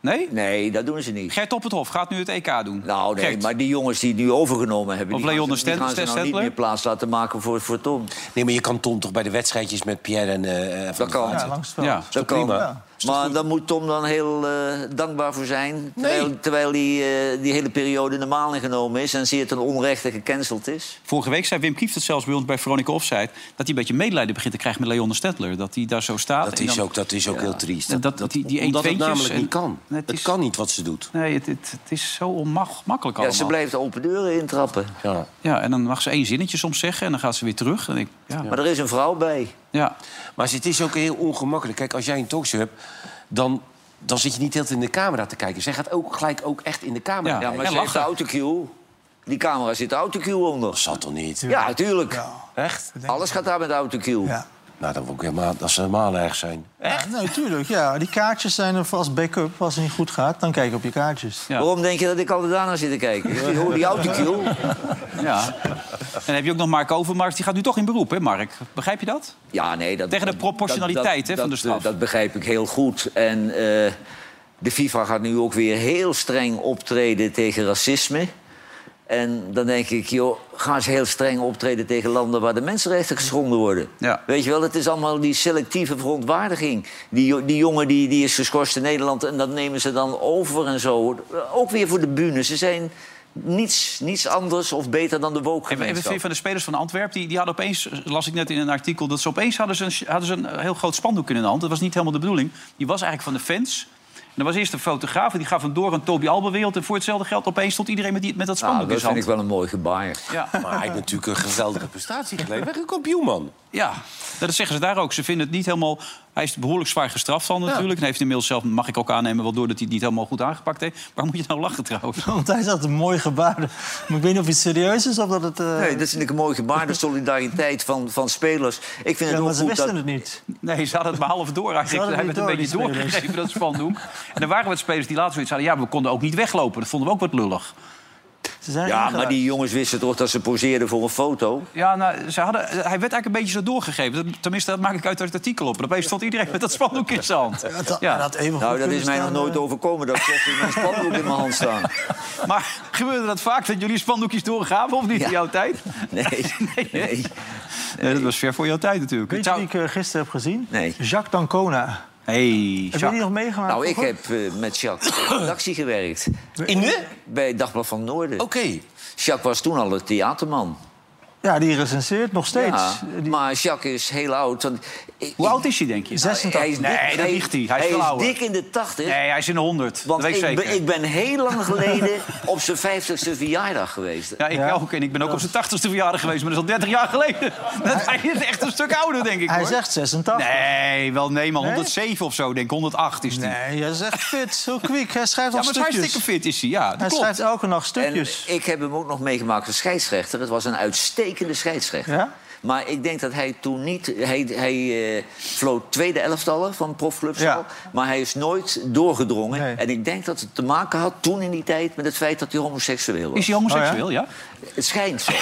Speaker 1: Nee?
Speaker 5: Nee, dat doen ze niet.
Speaker 1: Gert Opperthof gaat nu het EK doen.
Speaker 5: Nou, nee,
Speaker 1: Gert.
Speaker 5: maar die jongens die het nu overgenomen hebben...
Speaker 1: Of
Speaker 5: die gaan
Speaker 1: Leon
Speaker 5: ze,
Speaker 1: de
Speaker 5: die gaan
Speaker 1: Stent-
Speaker 5: ze nou niet
Speaker 1: Stentler?
Speaker 5: meer plaats laten maken voor, voor Tom.
Speaker 4: Nee, maar je kan Tom toch bij de wedstrijdjes met Pierre en eh, eh, van
Speaker 5: Dat
Speaker 4: der
Speaker 5: kan.
Speaker 4: Vaart.
Speaker 3: Ja, langs het veld.
Speaker 1: Ja.
Speaker 5: Dat
Speaker 4: toch
Speaker 5: kan.
Speaker 4: prima?
Speaker 5: Ja. Maar daar moet Tom dan heel eh, dankbaar voor zijn. Terwijl, terwijl die, eh, die hele periode in de maling genomen is... en zeer ten onrechte gecanceld is.
Speaker 1: Vorige week zei Wim Kieft het zelfs bij ons bij Veronica Offside... dat hij een beetje medelijden begint te krijgen met Leon de Stedtler. Dat hij daar zo staat.
Speaker 4: Dat
Speaker 1: en
Speaker 4: is
Speaker 1: dan-
Speaker 4: ook, dat is ook heel triest.
Speaker 1: Dat- dat- die- die één
Speaker 4: omdat het
Speaker 1: tweetjes
Speaker 4: namelijk
Speaker 1: en-
Speaker 4: niet kan.
Speaker 1: Nee, het
Speaker 4: het
Speaker 1: is-
Speaker 4: kan niet wat ze doet.
Speaker 1: Nee, het, het, het is zo onmakkelijk
Speaker 5: Ja,
Speaker 1: allemaal.
Speaker 5: ze blijft open deuren intrappen.
Speaker 4: Ja.
Speaker 1: Ja, en dan mag ze één zinnetje soms zeggen en dan gaat ze weer terug. En ik, ja, ja.
Speaker 5: Maar er is een vrouw bij.
Speaker 4: Maar het is ook heel ongemakkelijk. Kijk, als jij een talkshow hebt, dan, dan zit je niet heel in de camera te kijken. Zij gaat ook gelijk ook echt in de camera.
Speaker 1: Ja.
Speaker 4: Ja,
Speaker 5: Ja, maar
Speaker 1: en
Speaker 5: ze heeft de
Speaker 1: lachen.
Speaker 5: autocue. Die camera zit de autocue onder.
Speaker 4: zat toch niet?
Speaker 5: Ja, natuurlijk.
Speaker 4: Echt?
Speaker 5: Alles gaat daar met de autocue.
Speaker 3: Ja.
Speaker 4: Nou, dan wil ik helemaal, dat ze helemaal erg zijn.
Speaker 3: Echt? Ja, natuurlijk. Ja. Die kaartjes zijn er voor als backup. Als het niet goed gaat, dan kijk je op je kaartjes.
Speaker 1: Ja.
Speaker 5: Waarom denk je dat ik altijd daarna zit te kijken? Ik hoor die autocue.
Speaker 1: ja. En dan heb je ook nog Mark Overmars. Die gaat nu toch in beroep, hè, Mark? Begrijp je dat?
Speaker 5: Ja, nee, dat,
Speaker 1: Tegen de proportionaliteit,
Speaker 5: dat- dat-
Speaker 1: hè, van de
Speaker 5: dat,
Speaker 1: straf.
Speaker 5: eh, Dat begrijp ik heel goed. En eh, de FIFA gaat nu ook weer heel streng optreden tegen racisme. En dan denk ik, joh, gaan ze heel streng optreden tegen landen waar de mensenrechten geschonden worden?
Speaker 1: Ja.
Speaker 5: Weet je wel, het is allemaal die selectieve verontwaardiging. Die, jo- die jongen die, die is geschorst in Nederland en dat nemen ze dan over en zo. Ook weer voor de bühne. Ze zijn niets, niets anders of beter dan de woke
Speaker 1: Even, even veel van de spelers van Antwerpen, die, die hadden opeens, las ik net in een artikel, dat ze opeens hadden ze, een, hadden ze een eh, heel groot spandoek in hun hand. Dat was niet helemaal de bedoeling. Die was eigenlijk van de fans. En er was eerst een fotograaf en die gaf hem door aan Toby Albewereld. En voor hetzelfde geld opeens stond iedereen met, die, met dat
Speaker 5: Nou,
Speaker 1: spandoek in
Speaker 5: dat
Speaker 1: zijn
Speaker 5: vind ik
Speaker 1: hand.
Speaker 5: wel een mooi gebaar.
Speaker 1: Ja,
Speaker 4: Maar hij heeft natuurlijk een geweldige prestatie geleverd. Een kampioen, man.
Speaker 1: ja, dat zeggen ze daar ook. Ze vinden het niet helemaal... Hij is behoorlijk zwaar gestraft dan natuurlijk. En hij heeft inmiddels zelf, mag ik ook aannemen, wel door dat hij het niet helemaal goed aangepakt heeft. Waar moet je nou lachen trouwens?
Speaker 3: Want hij zat een mooi gebaar. Maar ik weet niet of het serieus is of dat het... eh,
Speaker 5: Nee, dat vind ik een mooi gebaar, de solidariteit van, van spelers. Ik vind
Speaker 3: ja,
Speaker 5: het
Speaker 3: maar
Speaker 5: ook
Speaker 3: ze
Speaker 5: goed
Speaker 3: wisten
Speaker 5: dat...
Speaker 3: het niet.
Speaker 1: Nee, ze hadden het maar half door. Hij
Speaker 3: hadden
Speaker 1: heeft
Speaker 3: het
Speaker 1: het een
Speaker 3: niet
Speaker 1: beetje
Speaker 3: door, die spelers.
Speaker 1: doorgegeven, dat spandoek. En er waren wat spelers die later zoiets hadden. Ja, we konden ook niet weglopen. Dat vonden we ook wat lullig.
Speaker 3: Ze zijn
Speaker 5: Ja,
Speaker 3: ingeraakt.
Speaker 5: maar die jongens wisten toch dat ze poseerden voor een foto?
Speaker 1: Ja, nou, ze hadden, hij werd eigenlijk een beetje zo doorgegeven. Dat- Tenminste, dat maak ik uit het artikel op. En opeens stond iedereen met dat spandoek in zijn hand.
Speaker 3: Dat- dat,
Speaker 1: Ja.
Speaker 3: dat even
Speaker 5: Nou,
Speaker 3: goed
Speaker 5: dat is
Speaker 3: kunnen
Speaker 5: mij nog
Speaker 3: staan,
Speaker 5: nooit
Speaker 3: eh.
Speaker 5: overkomen dat ik in mijn spandoek in mijn hand staan.
Speaker 1: Maar gebeurde dat vaak, dat jullie spandoekjes doorgaven? Of niet
Speaker 5: Ja.
Speaker 1: in jouw tijd?
Speaker 5: Nee, nee.
Speaker 1: Nee, dat was ver voor jouw tijd natuurlijk.
Speaker 3: Weet je wie ik eh, gisteren heb gezien?
Speaker 5: Nee.
Speaker 3: Jacques Dancona.
Speaker 1: hey,
Speaker 3: Heb je die
Speaker 1: Jacques.
Speaker 3: nog meegemaakt?
Speaker 5: Nou, ik
Speaker 3: vroeger?
Speaker 5: heb eh, met Jacques in de redactie gewerkt.
Speaker 4: In de?
Speaker 5: Bij het Dagblad van het Noorden.
Speaker 4: Oké.
Speaker 5: Jacques was toen al een theaterman.
Speaker 3: Ja, die recenseert nog steeds.
Speaker 5: Ja,
Speaker 3: eh, Die-
Speaker 5: maar Jacques is heel oud. Want ik- Nou,
Speaker 1: Hoe oud is hij, denk je?
Speaker 3: 86.
Speaker 5: hij is dik,
Speaker 1: Nee, dat liegt hij. Hij is
Speaker 5: hij
Speaker 1: veel
Speaker 5: is
Speaker 1: ouder.
Speaker 5: dik in de tachtig.
Speaker 1: Nee, hij is in de 100.
Speaker 5: Want
Speaker 1: dat weet ik
Speaker 5: ik,
Speaker 1: zeker.
Speaker 5: ben, ik ben heel lang geleden op zijn 50ste verjaardag geweest.
Speaker 1: Ja, ik
Speaker 3: Ja.
Speaker 1: ook. En ik ben ook op zijn 80ste verjaardag geweest, maar dat is al 30 jaar geleden. Dat hij is echt een stuk ouder, denk ik.
Speaker 3: hij
Speaker 1: hoor.
Speaker 3: zegt 86.
Speaker 1: Nee, wel nee, man. 107 of zo, denk ik. 108 is hij. Ja,
Speaker 3: Nee, hij is echt fit. Zo kwik. Hij schrijft
Speaker 1: maar
Speaker 3: al
Speaker 1: het is
Speaker 3: stukjes.
Speaker 1: hartstikke fit is hij. Ja, dat
Speaker 3: hij
Speaker 1: klopt.
Speaker 3: schrijft elke nacht
Speaker 5: En
Speaker 3: stukjes.
Speaker 5: ik heb hem ook nog meegemaakt als scheidsrechter. Het was een uitstekende scheidsrechter.
Speaker 3: Ja?
Speaker 5: Maar ik denk dat hij toen niet... Hij, hij eh, floot tweede elftallen van profclubs
Speaker 3: Ja.
Speaker 5: al. Maar hij is nooit doorgedrongen.
Speaker 3: Nee.
Speaker 5: En ik denk dat het te maken had toen in die tijd... met het feit dat hij homoseksueel was.
Speaker 1: Is hij homoseksueel,
Speaker 3: Oh,
Speaker 1: ja?
Speaker 5: Het schijnt zo.
Speaker 3: hij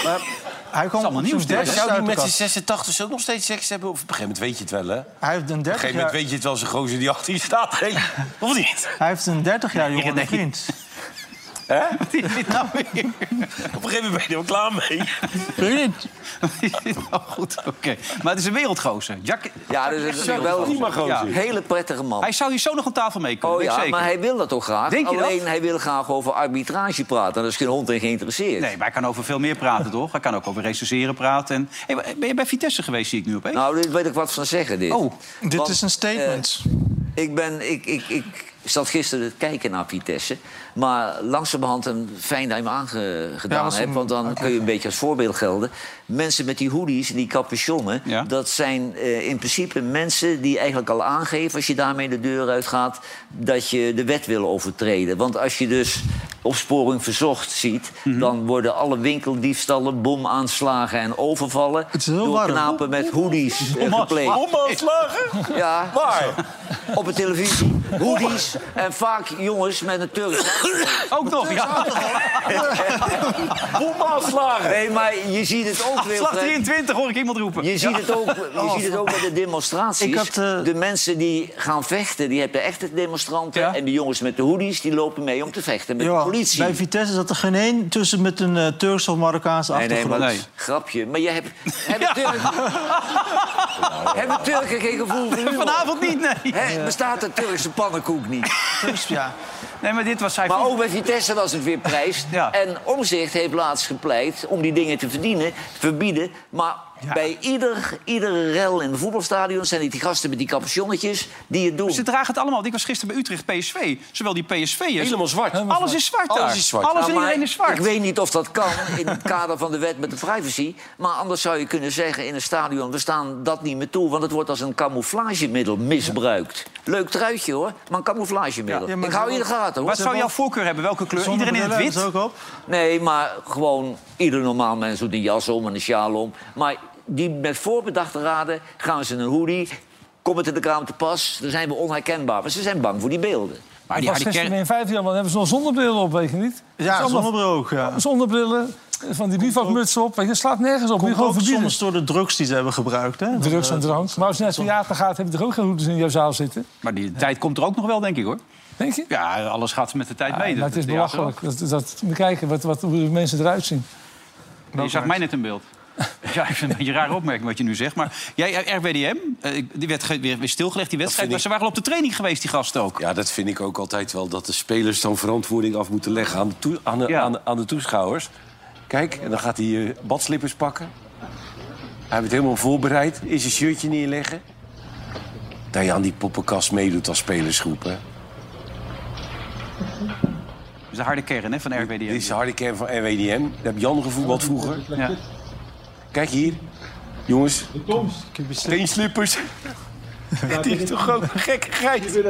Speaker 3: kwam
Speaker 1: allemaal
Speaker 3: op zijn
Speaker 1: nieuws, dit.
Speaker 3: 30
Speaker 4: Zou die
Speaker 3: uit de
Speaker 4: met
Speaker 3: kast.
Speaker 4: zijn 86 ook nog steeds seks hebben? Of op een gegeven moment weet je het wel, hè? Op een
Speaker 3: Hij heeft een 30
Speaker 4: gegeven moment
Speaker 3: jaar,
Speaker 4: weet je het wel als een gozer die achter je staat. denk ik. Of niet?
Speaker 3: hij heeft een 30 jaar jongere
Speaker 1: nee.
Speaker 3: vriend.
Speaker 1: Wat is dit nou weer?
Speaker 4: Op een gegeven moment ben je er wel klaar mee.
Speaker 1: Wat is dit nou? goed, oké. Maar het is een wereldgozer. Jack...
Speaker 5: Ja, dus het is wel
Speaker 4: prima gozer.
Speaker 5: een hele prettige man.
Speaker 1: Hij zou hier zo nog aan tafel mee kunnen,
Speaker 5: Oh
Speaker 1: weet ik
Speaker 5: ja,
Speaker 1: zeker.
Speaker 5: maar hij wil dat toch graag?
Speaker 1: Denk je dat?
Speaker 5: Alleen hij wil graag over arbitrage praten. En daar is geen hond in geïnteresseerd.
Speaker 1: Nee, maar hij kan over veel meer praten, toch? Hij kan ook over recenseren praten. En... Hey, maar ben je bij Vitesse geweest, zie ik nu opeens?
Speaker 5: Nou, dit weet ik wat van zeggen, dit.
Speaker 1: Oh,
Speaker 3: Dit
Speaker 5: Want,
Speaker 3: is een statement.
Speaker 5: Ik ben, ik, ik, ik Ik zat gisteren te kijken naar Vitesse. Maar langzamerhand, en fijn dat je hem aangedaan
Speaker 3: was
Speaker 5: hebt...
Speaker 3: een-
Speaker 5: want dan kun je een beetje als voorbeeld gelden. Mensen met die hoodies en die capuchonnen...
Speaker 1: Ja.
Speaker 5: dat zijn eh, in principe mensen die eigenlijk al aangeven... als je daarmee de deur uitgaat, dat je de wet wil overtreden. Want als je dus opsporing verzocht ziet...
Speaker 3: Mhm.
Speaker 5: dan worden alle winkeldiefstallen, bomaanslagen en overvallen...
Speaker 3: Het is heel
Speaker 5: door
Speaker 3: warm.
Speaker 5: knapen met hoodies eh, gepleegd. Ja, op de televisie. Hoodies en vaak jongens met een Turks.
Speaker 1: Ook nog, ja.
Speaker 5: Nee, maar je ziet het
Speaker 3: Ah,
Speaker 5: ook weer.
Speaker 1: Slag
Speaker 5: Fred.
Speaker 1: 23 hoor ik iemand roepen.
Speaker 5: Je ziet het ook, je ziet het ook bij de demonstraties.
Speaker 3: Oh. Ik had, eh,
Speaker 5: De mensen die gaan vechten, die hebben echte demonstranten.
Speaker 1: Ja.
Speaker 5: En de jongens met de hoodies, die lopen mee om te vechten met
Speaker 3: Johan,
Speaker 5: de politie.
Speaker 3: Bij Vitesse zat er geen één tussen met een eh Turks of Marokkaanse
Speaker 5: Nee, nee,
Speaker 3: achtergrond.
Speaker 5: maar
Speaker 1: Nee.
Speaker 5: grapje. Maar je hebt, hebben, Turken, hebben Turken geen gevoel voor humor?
Speaker 1: Vanavond niet, nee.
Speaker 5: Hè, bestaat de Turkse pannenkoek niet?
Speaker 3: Dus, ja.
Speaker 1: Nee, maar dit was zijn
Speaker 5: Maar ook bij Vitesse was het weer prijs.
Speaker 1: Ja.
Speaker 5: En Omzicht heeft laatst gepleit om die dingen te verdienen, verbieden. Maar bij ieder, iedere rel in het voetbalstadion zijn het die gasten met die capuchonnetjes die het doen.
Speaker 1: Ze dragen het allemaal. Want ik was gisteren bij Utrecht PSV. Zowel die PSV'ers.
Speaker 4: Helemaal zwart.
Speaker 1: Alles is zwart daar.
Speaker 4: Alles is zwart.
Speaker 1: Alles en
Speaker 5: Nou, maar
Speaker 1: iedereen is zwart.
Speaker 5: Ik weet niet of dat kan in het kader van de wet met de privacy. Maar anders zou je kunnen zeggen in een stadion... we staan dat niet meer toe, want het wordt als een camouflagemiddel misbruikt. Leuk truitje, hoor, maar een camouflagemiddel.
Speaker 3: Ja, maar
Speaker 5: ik
Speaker 3: ze
Speaker 5: hou je in de
Speaker 3: hebben-
Speaker 5: gaten, hoor.
Speaker 1: Wat zou jouw voorkeur hebben? Welke kleur? Iedereen in het
Speaker 3: Zonnebril
Speaker 1: wit?
Speaker 3: hebben ze ook op.
Speaker 5: Nee, maar gewoon ieder normaal mens doet een jas om en een sjaal om. Maar die met voorbedachte raden gaan ze in een hoodie, komen te de kraam te pas. Dan zijn we onherkenbaar, maar ze zijn bang voor die beelden.
Speaker 1: Maar die
Speaker 2: Pas
Speaker 1: harde
Speaker 2: 16
Speaker 1: kern...
Speaker 2: en 15 jaar, dan hebben ze nog zonnebrillen op, weet je niet?
Speaker 3: Ja,
Speaker 2: Allemaal
Speaker 3: zonnebril ook. Ja.
Speaker 2: Zonnebrillen, eh, van die bivakmuts op. Weet je, slaat nergens op. Moet je
Speaker 3: Komt
Speaker 2: gewoon
Speaker 3: ook
Speaker 2: verbieden.
Speaker 3: soms door de drugs die ze hebben gebruikt. Hè?
Speaker 2: Drugs en drank. Maar als je naar het theater gaat, heb je toch ook geen hoeders in jouw zaal zitten?
Speaker 1: Maar die tijd komt er ook nog wel, denk ik, hoor.
Speaker 2: Denk je?
Speaker 1: Ja, alles gaat met de tijd mee.
Speaker 2: maar
Speaker 1: Dat-
Speaker 2: het is
Speaker 1: dat theater ook.
Speaker 2: belachelijk. Dat, dat, we kijken wat, wat, hoe de mensen eruit zien.
Speaker 1: Je zag mij net in beeld. Ja, ik vind het een beetje een rare opmerking wat je nu zegt. Maar jij, eh, RWDM, eh, ik- die werd ge- weer weer stilgelegd, die wedstrijd.
Speaker 4: vind
Speaker 1: Maar
Speaker 4: ik-
Speaker 1: ze waren al op de training geweest, die gasten ook.
Speaker 4: Ja, dat vind ik ook altijd wel. Dat de spelers dan verantwoording af moeten leggen aan de, toe- aan de,
Speaker 1: Ja.
Speaker 4: aan de, aan de toeschouwers. Kijk, en dan gaat hij eh, badslippers pakken. Hij heeft het helemaal voorbereid. Is een shirtje neerleggen. Dat je aan die poppenkast meedoet als spelersgroep. Hè?
Speaker 1: Dat is de harde kern hè, van RWDM.
Speaker 4: Dit is de harde kern van RWDM. Daar heb Jan gevoetbald vroeger.
Speaker 1: Ja.
Speaker 4: Kijk hier. Jongens, teenslippers. Dit is toch gewoon een gekkigheid.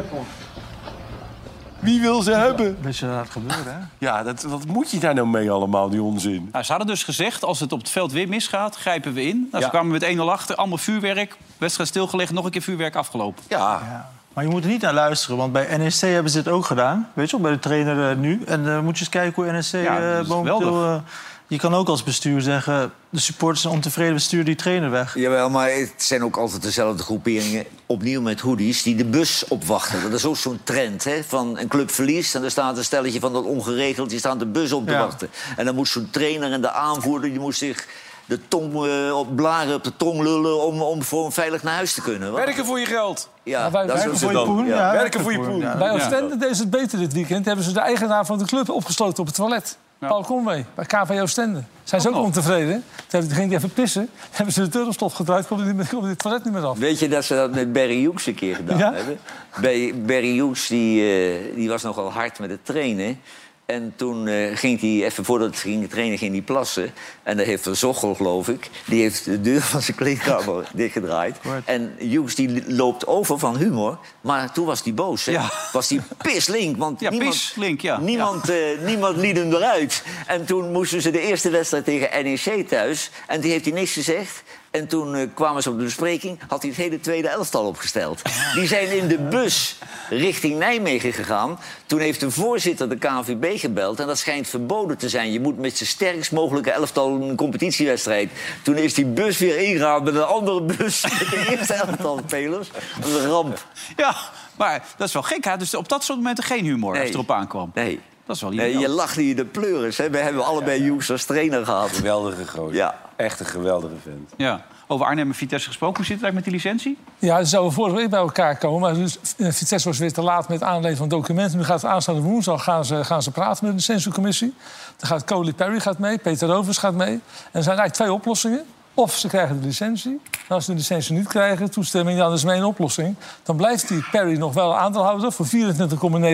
Speaker 4: Wie wil ze hebben?
Speaker 3: Beetje laat gebeuren, hè?
Speaker 4: Ja, dat, wat moet je daar nou mee allemaal, die onzin?
Speaker 1: Nou, ze hadden dus gezegd, als het op het veld weer misgaat, grijpen we in. Nou,
Speaker 4: Ja.
Speaker 1: Ze kwamen met 1-0 achter, allemaal vuurwerk. Wedstrijd stilgelegd, nog een keer vuurwerk afgelopen.
Speaker 4: Ja,
Speaker 3: Maar je moet er niet naar luisteren, want bij NEC hebben ze dit ook gedaan. Weet je wel, bij de trainer eh, nu. En eh, moet je eens kijken hoe NEC
Speaker 1: Ja,
Speaker 3: eh,
Speaker 1: dat is
Speaker 3: momenteel...
Speaker 1: geweldig.
Speaker 3: eh, je kan ook als bestuur zeggen... de supporters zijn ontevreden, we sturen die trainer weg.
Speaker 5: Jawel, maar het zijn ook altijd dezelfde groeperingen, opnieuw met hoodies, die de bus opwachten. Dat is ook zo'n trend, hè? Van een club verliest en er staat een stelletje van dat ongeregeld, die staan de bus op te
Speaker 3: Ja.
Speaker 5: wachten. En dan moet zo'n trainer en de aanvoerder, die moest zich de tong eh, op blaren, op de tong lullen om, om voor veilig naar huis te kunnen. Want-
Speaker 4: werken voor je geld.
Speaker 5: ja,
Speaker 2: wij werken
Speaker 5: ook
Speaker 2: voor
Speaker 5: zo.
Speaker 4: je
Speaker 3: poen, ja.
Speaker 4: Werken voor je poen.
Speaker 3: Ja.
Speaker 2: Bij Oostende deed ze het beter dit weekend. Hebben ze de eigenaar van de club opgesloten op het toilet. Paul Conway, bij KV Oostende. Zijn ze ook
Speaker 1: nog.
Speaker 2: ontevreden? Toen hebben- ging hij even pissen. Toen hebben ze de deur op slot gedraaid. Komt hij niet meer- kon hij het toilet niet meer af.
Speaker 5: Weet je dat ze dat met Barry Hughes een keer gedaan
Speaker 2: Ja?
Speaker 5: hebben? Bij Barry Hughes die, eh, die was nogal hard met het trainen. En toen eh, ging hij, even voordat hij ging trainen, ging hij plassen. En daar heeft Van Zochel, geloof ik, die heeft de deur van zijn kleedkamer dichtgedraaid. En Hughes die loopt over van humor. Maar toen was hij boos, hè?
Speaker 1: Ja.
Speaker 5: Was hij pislink, want
Speaker 1: Ja,
Speaker 5: niemand,
Speaker 1: pislink, ja.
Speaker 5: Niemand, eh, niemand liet hem eruit. En toen moesten ze de eerste wedstrijd tegen NEC thuis. En die heeft hij niks gezegd. En toen eh, kwamen ze op de bespreking, had hij het hele tweede elftal opgesteld. Die zijn in de bus richting Nijmegen gegaan. Toen heeft de voorzitter de KNVB gebeld en dat schijnt verboden te zijn. Je moet met je sterkst mogelijke elftal een competitiewedstrijd. Toen is die bus weer ingehaald met een andere bus met de eerste elftal spelers. Dat is een ramp.
Speaker 1: Ja, maar dat is wel gek. Hij had dus op dat soort momenten geen humor als
Speaker 5: Nee.
Speaker 1: het erop aankwam.
Speaker 5: Nee.
Speaker 1: Dat is wel
Speaker 5: Nee,
Speaker 1: ideaal.
Speaker 5: je lacht hier de pleuris. Hè? We hebben allebei Hughes als trainer gehad.
Speaker 4: Geweldige gozer.
Speaker 5: Ja.
Speaker 4: Echt een geweldige vent.
Speaker 1: Ja. Over Arnhem en Vitesse gesproken, hoe zit het eigenlijk met die licentie?
Speaker 2: Ja, ze zouden vorige week bij elkaar komen. Maar dus, eh, Vitesse was weer te laat met het aanleveren van documenten. Nu gaat het aanstaande woensdag gaan ze, gaan ze praten met de censuurcommissie. Dan gaat Coley Perry gaat mee, Peter Rovers gaat mee. En er zijn eigenlijk twee oplossingen. Of ze krijgen de licentie. En als ze de licentie niet krijgen, toestemming, ja, dat is mijn oplossing. Dan blijft die Perry nog wel aandeelhouder voor